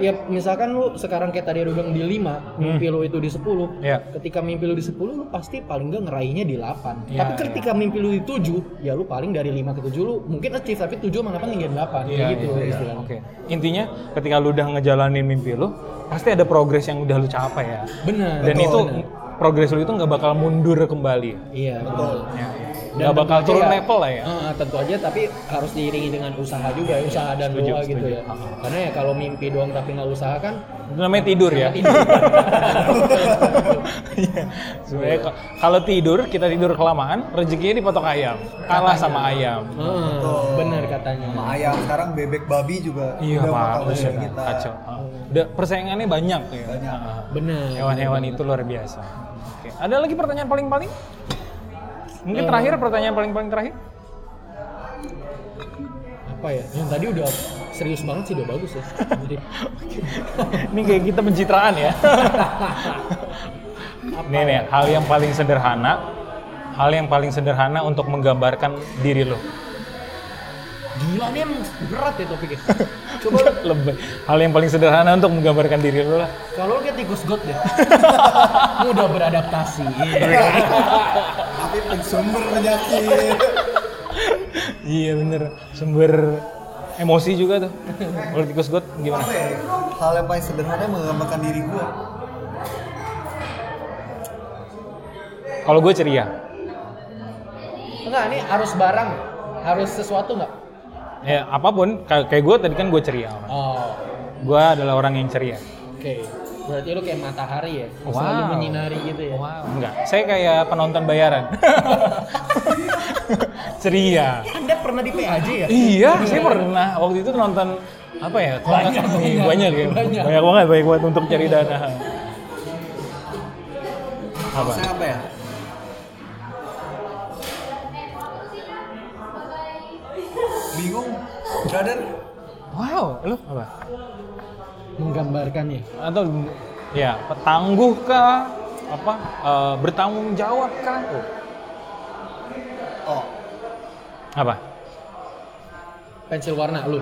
D: Ya misalkan lu sekarang kayak tadi lu bilang di 5,
A: Hmm.
D: mimpi lu itu di 10.
A: Iya.
D: Ketika mimpi lu di 10 lu pasti paling nggak ngeraihnya di 8.
A: Iya,
D: tapi ketika mimpi lu di 7, ya lu paling dari 5 ke 7 lu mungkin achieve tapi 7 sama 8 hingga 8
A: Iya,
D: kayak gitu
A: iya, iya.
D: istilahnya.
A: Oke. Intinya ketika lu udah ngejalanin mimpi lu, pasti ada progres yang udah lu capai ya.
D: Benar.
A: Dan
D: betul,
A: itu
D: benar.
A: progres lu itu nggak bakal mundur kembali.
D: iya betul.
A: Ya, ya.
D: Dan
A: Nggak bakal
D: tentu
A: turun
D: aja ya-
A: level lah ya. Iya,
D: Heeh, tentu aja tapi harus diiringi dengan usaha juga, usaha dan
A: setuju,
D: doa gitu
A: setuju.
D: ya. Karena ya kalau mimpi doang tapi nggak usaha kan
A: Itu namanya tidur ya. Iya. Sebenarnya ko- kalau tidur kita tidur kelamaan, rezekinya dipotok ayam. Kalah sama ayam.
D: Heeh, benar katanya.
C: sama ayam sekarang bebek babi juga
A: Iya
C: udah
A: pak,
C: bakal
A: buset,
C: kayak kita
A: kacau. Ah. Udah, persaingannya banyak ya.
C: Banyak.
A: Ah.
D: Benar.
A: Hewan-hewan itu luar biasa. Oke. Ada lagi pertanyaan paling-paling? Mungkin terakhir pertanyaan paling-paling terakhir?
D: apa ya yang tadi udah serius banget sih udah bagus ya jadi
A: Ini kayak kita pencitraan ya. Nih nih, hal yang paling sederhana, hal yang paling sederhana untuk menggambarkan diri lo.
D: gila nih emang berat ya topiknya coba
A: Coba lebih. Hal yang paling sederhana untuk menggambarkan diri lo lah.
D: kalau lu kayak tikus god deh mudah beradaptasi
C: tapi sumber penyakit
A: Iya bener, sumber emosi juga tuh. Menurut tikus gue gimana?
C: apa ya hal yang paling sederhana yang menggambarkan diri gua
A: Kalau gue ceria,
D: enggak ini harus barang harus sesuatu nggak
A: ya apapun Kay- kayak gue tadi kan gue ceria orang.
D: oh
A: Gue adalah orang yang ceria.
D: oke berarti lu kayak matahari ya
A: Wow.
D: yang selalu menyinari gitu ya
A: Enggak, saya kayak penonton bayaran. ceria.
D: anda pernah di PAJ ya
A: Iya, saya pernah waktu itu nonton apa ya? Kontes-
D: Banyak,
A: Iya,
D: banyak.
A: banyak, ya.
D: Banyak.
A: banyak banget, banyak banget untuk cari dana. Apa?
C: saya apa ya bingung brother
A: Wow, lu apa?
D: menggambarkannya
A: atau ya tangguh kah apa eh, bertanggung jawab kah Oh.
C: oh
A: apa
D: pensil warna lu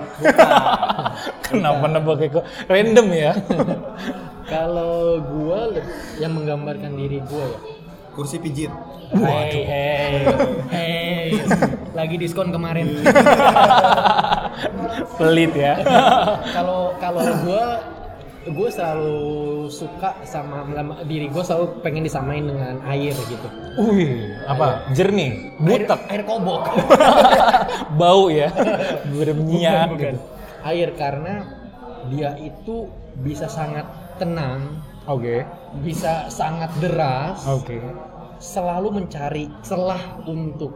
A: kenapa nembak kayak ke- random ya
D: kalau gua le- yang menggambarkan diri gua ya
C: kursi pijit
D: Hei, hei, hei, lagi diskon kemarin.
A: pelit ya
D: Kalau kalau gue gue selalu suka sama, sama diri gue selalu pengen disamain dengan air gitu.
A: Wih, apa? Jernih, butek,
D: Air, air kobok.
A: bau ya, berminyak
D: Bukan.
A: gitu.
D: Air karena dia itu bisa sangat tenang,
A: Oke,
D: bisa sangat deras,
A: oke.
D: selalu mencari celah untuk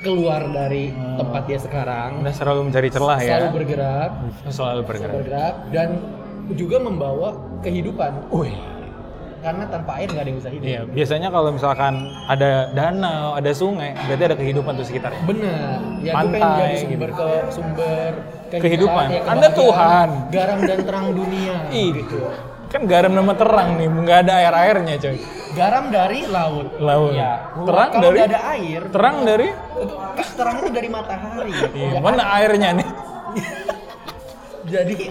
D: keluar dari tempat dia sekarang.
A: Anda selalu mencari celah ya.
D: Selalu bergerak,
A: Selalu bergerak.
D: bergerak dan juga membawa kehidupan
A: Wih,
D: karena tanpa air nggak ada yang bisa hidup.
A: iya. Biasanya kalau misalkan ada danau, ada sungai, berarti ada kehidupan tuh sekitarnya.
D: Benar. Ya gue
A: Pantai,
D: pengen jadi sumber
A: gitu.
D: ke sumber
A: Kehidupan.
D: ya,
A: Anda
D: kebahagiaan,
A: Tuhan.
D: Garam dan terang dunia. gitu.
A: Ih, kan garam nama terang nih, nggak ada air-airnya coy.
D: Garam dari laut.
A: Laut.
D: Ya.
A: Terang
D: Kalau
A: dari-
D: nggak ada air,
A: Terang dari?
D: kan terang itu dari matahari. Ya.
A: Iya, mana airnya nih?
D: Jadi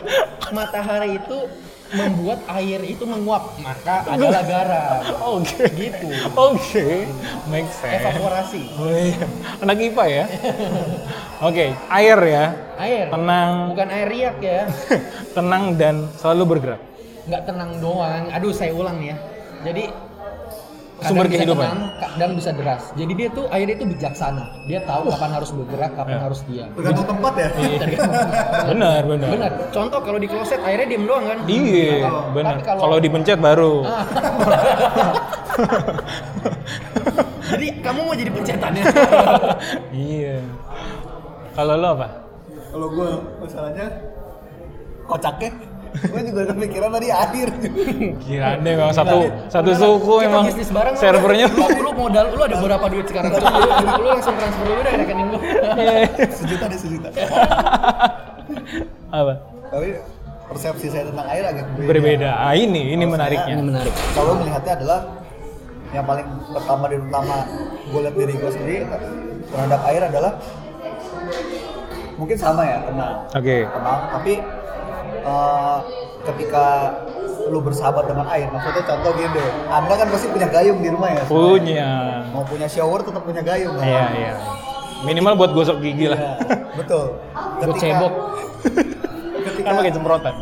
D: matahari itu membuat air itu menguap, maka adalah garam.
A: Oke.
D: Gitu.
A: Oke, make sense.
D: Evaporasi.
A: Oh iya, anak IPA ya. Oke, air ya.
D: Air.
A: Tenang,
D: Bukan air riak ya.
A: tenang dan selalu bergerak.
D: nggak tenang doang. Aduh, saya ulang ya. Jadi kadang
A: Sumber
D: bisa
A: kehidupan.
D: tenang, kadang bisa deras. Jadi dia tuh air itu bijaksana. Dia tahu kapan harus bergerak, kapan
A: Ya.
D: harus diam.
C: Tergantung tempat ya.
A: Iya. Benar, benar.
D: Benar. Contoh kalau di kloset airnya diem doang kan?
A: Iya, benar.
D: Tapi kalau- Ah.
A: Kalau dipencet baru.
D: Jadi kamu mau jadi pencetannya?
A: Iya. Kalau lo apa?
C: Kalau gue masalahnya kocaknya, gue juga kepikiran tadi air.
A: Gila deh, memang satu satu suku
D: Kita
A: memang
D: bisnis bareng lu.
A: servernya.
D: Lu modal lu ada berapa duit sekarang? Lu, lu- lu langsung transfer dulu deh rekening lu.
C: sejuta deh sejuta.
A: apa?
C: Tapi persepsi saya tentang air agak
A: Berbeda. Ah, ini ini menariknya.
D: Iya. Ini menarik.
C: Kalau melihatnya adalah yang paling pertama dan utama gue lihat diri gue sendiri terhadap air adalah mungkin sama ya tenang
A: Oke.
C: tenang tapi eh, ketika lu bersahabat dengan air maksudnya contoh gini anda kan pasti punya gayung di rumah ya
A: Punya.
C: mau punya shower tetap punya gayung kan?
A: Iya, iya. Minimal buat gosok gigi
C: Iya,
A: lah.
C: betul
D: Buat cebok.
C: ketika
A: Kan pakai semprotan.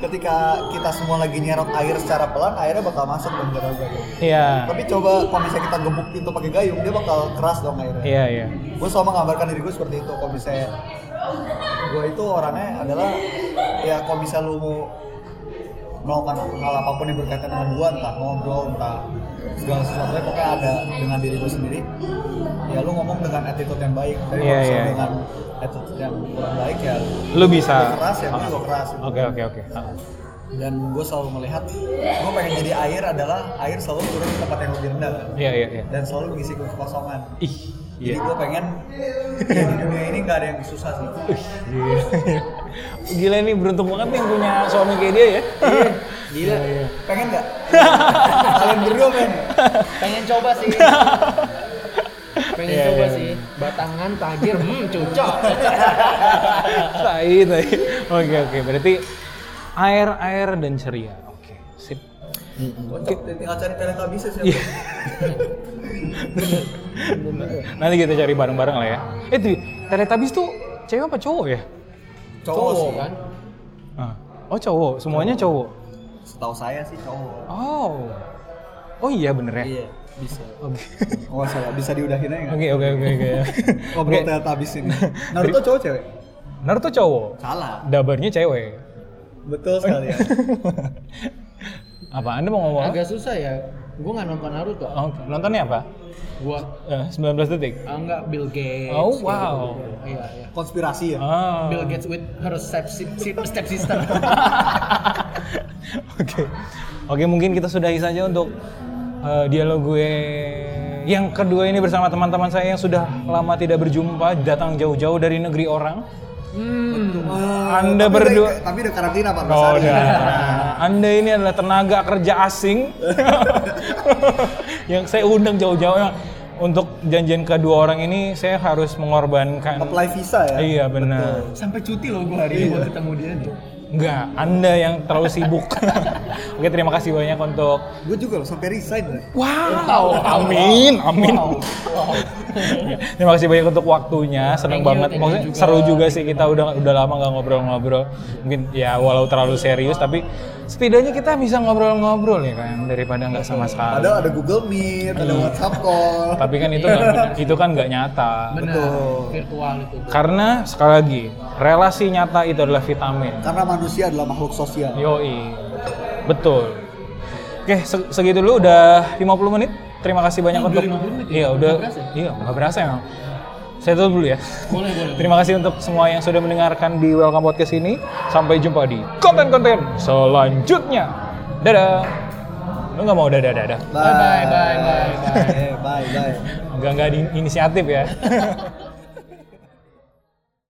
C: ketika kita semua lagi nyerap air secara pelan airnya bakal masuk dong ke dalam gayung
A: Iya.
C: tapi coba kalau misalnya kita gebuk pintu pakai gayung dia bakal keras dong airnya
A: Iya, iya.
C: gue selalu menggambarkan diri gue seperti itu kalau misalnya gue itu orangnya adalah ya kalau bisa lu mau melakukan hal apapun yang berkaitan dengan gue entah ngobrol entah segala sesuatu pokoknya ada dengan diri gue sendiri ya lu ngomong dengan attitude yang baik tapi
A: Iya,
C: kalau misalnya
A: iya.
C: dengan attitude yang kurang baik ya
A: Lu bisa.
C: lu keras ya gue juga keras
A: Oke, oke, oke. Ah.
C: dan gue selalu melihat gue pengen jadi air adalah air selalu turun ke tempat yang lebih rendah kan?
A: Iya, iya, iya.
C: dan selalu mengisi kekosongan
A: Ih, iya.
C: jadi gue pengen ya di dunia ini nggak ada yang susah sih.
A: Iya. Gila ini beruntung banget nih punya suami kayak dia ya.
D: Gila.
C: Iya, Pengen nggak? Kalian berdua pengen? nggak?
D: Pengen coba sih. Pengen
A: Iya,
D: coba
A: iya,
D: sih. Batangan tajir, hmm cocok.
A: tai, tai. Oke, oke. Berarti air, air dan ceria. Oke, sip.
C: Kocok, tinggal cari talenta bisa sih.
A: Iya. Nanti kita cari bareng-bareng lah ya. Eh, tuh, Teletubbies tuh cewek apa cowok ya?
C: Cowok sih.
D: kan.
A: Ah. Oh, cowok. Semuanya cowok.
C: Setahu saya sih cowok.
A: Oh. Oh iya bener ya.
C: Iya, bisa.
A: Oke.
C: Oh salah, bisa diudahin aja nggak?
A: Oke, oke, oke, oke.
C: Ngobrol talenta habis ini. Naruto cowok cewek?
A: Naruto cowok.
C: Salah.
A: Dabarnya cewek.
C: Betul sekali ya.
A: apa Anda mau ngomong? apa?
D: Agak susah ya. Gue nggak nonton Naruto.
A: Oh, nontonnya apa?
D: Gue
A: Eh, 19 detik.
D: enggak ah, Bill Gates.
A: Oh,
D: kayak
A: wow.
D: gitu. Iya, iya.
C: Konspirasi ya.
A: Ah.
D: Bill Gates with her step si- si- step sister.
A: Oke. Oke, mungkin kita sudahi saja untuk eh, dialog gue yang kedua ini bersama teman-teman saya yang sudah lama tidak berjumpa, datang jauh-jauh dari negeri orang.
C: Wah,
A: Anda
C: Eh, tapi
A: berdua-
C: udah- tapi udah karantina Pak.
A: Oh,
C: Mas Ari.
A: udah. Anda ini adalah tenaga kerja asing yang saya undang jauh-jauh untuk janjian kedua orang ini saya harus mengorbankan
C: Apply visa ya.
A: Iya benar.
D: Sampai cuti loh gue hari ini buat ketemu dia nih.
A: Enggak, Anda yang terlalu sibuk. Oke, terima kasih banyak untuk
C: Gue juga loh sampai resign. loh.
A: Wow, amin, amin.
D: tolong.
A: Terima kasih banyak untuk waktunya, senang
D: Thank you,
A: banget.
D: thank you
A: Maksudnya
D: juga.
A: seru juga sih kita udah udah lama nggak ngobrol-ngobrol. Mungkin ya walau terlalu serius tapi setidaknya kita bisa ngobrol-ngobrol ya kan daripada nggak sama sekali.
C: Ada ada Google Meet,
A: Iya.
C: ada WhatsApp call.
A: Tapi kan itu nggak- itu kan nggak nyata.
B: Benar,
C: Betul.
B: virtual itu.
A: Karena sekali lagi relasi nyata itu adalah vitamin.
C: Karena manusia adalah makhluk sosial.
A: Yoi, betul. Oke, se- segitu dulu udah 50 menit. Terima kasih banyak
B: Ih, udah
A: untuk
B: 50 menit ya?
A: Iya,
B: Nggak
A: udah.
B: berasa ya?
A: Iya, nggak berasa emang. Saya tutup dulu ya.
B: Boleh, boleh.
A: Terima kasih untuk semua yang sudah mendengarkan di Welcome Podcast ini. Sampai jumpa di konten-konten selanjutnya. Dadah. Lu nggak mau dadah-dadah?
C: Bye
B: bye, bye, bye,
C: bye. bye.
A: Nggak nggak di inisiatif ya.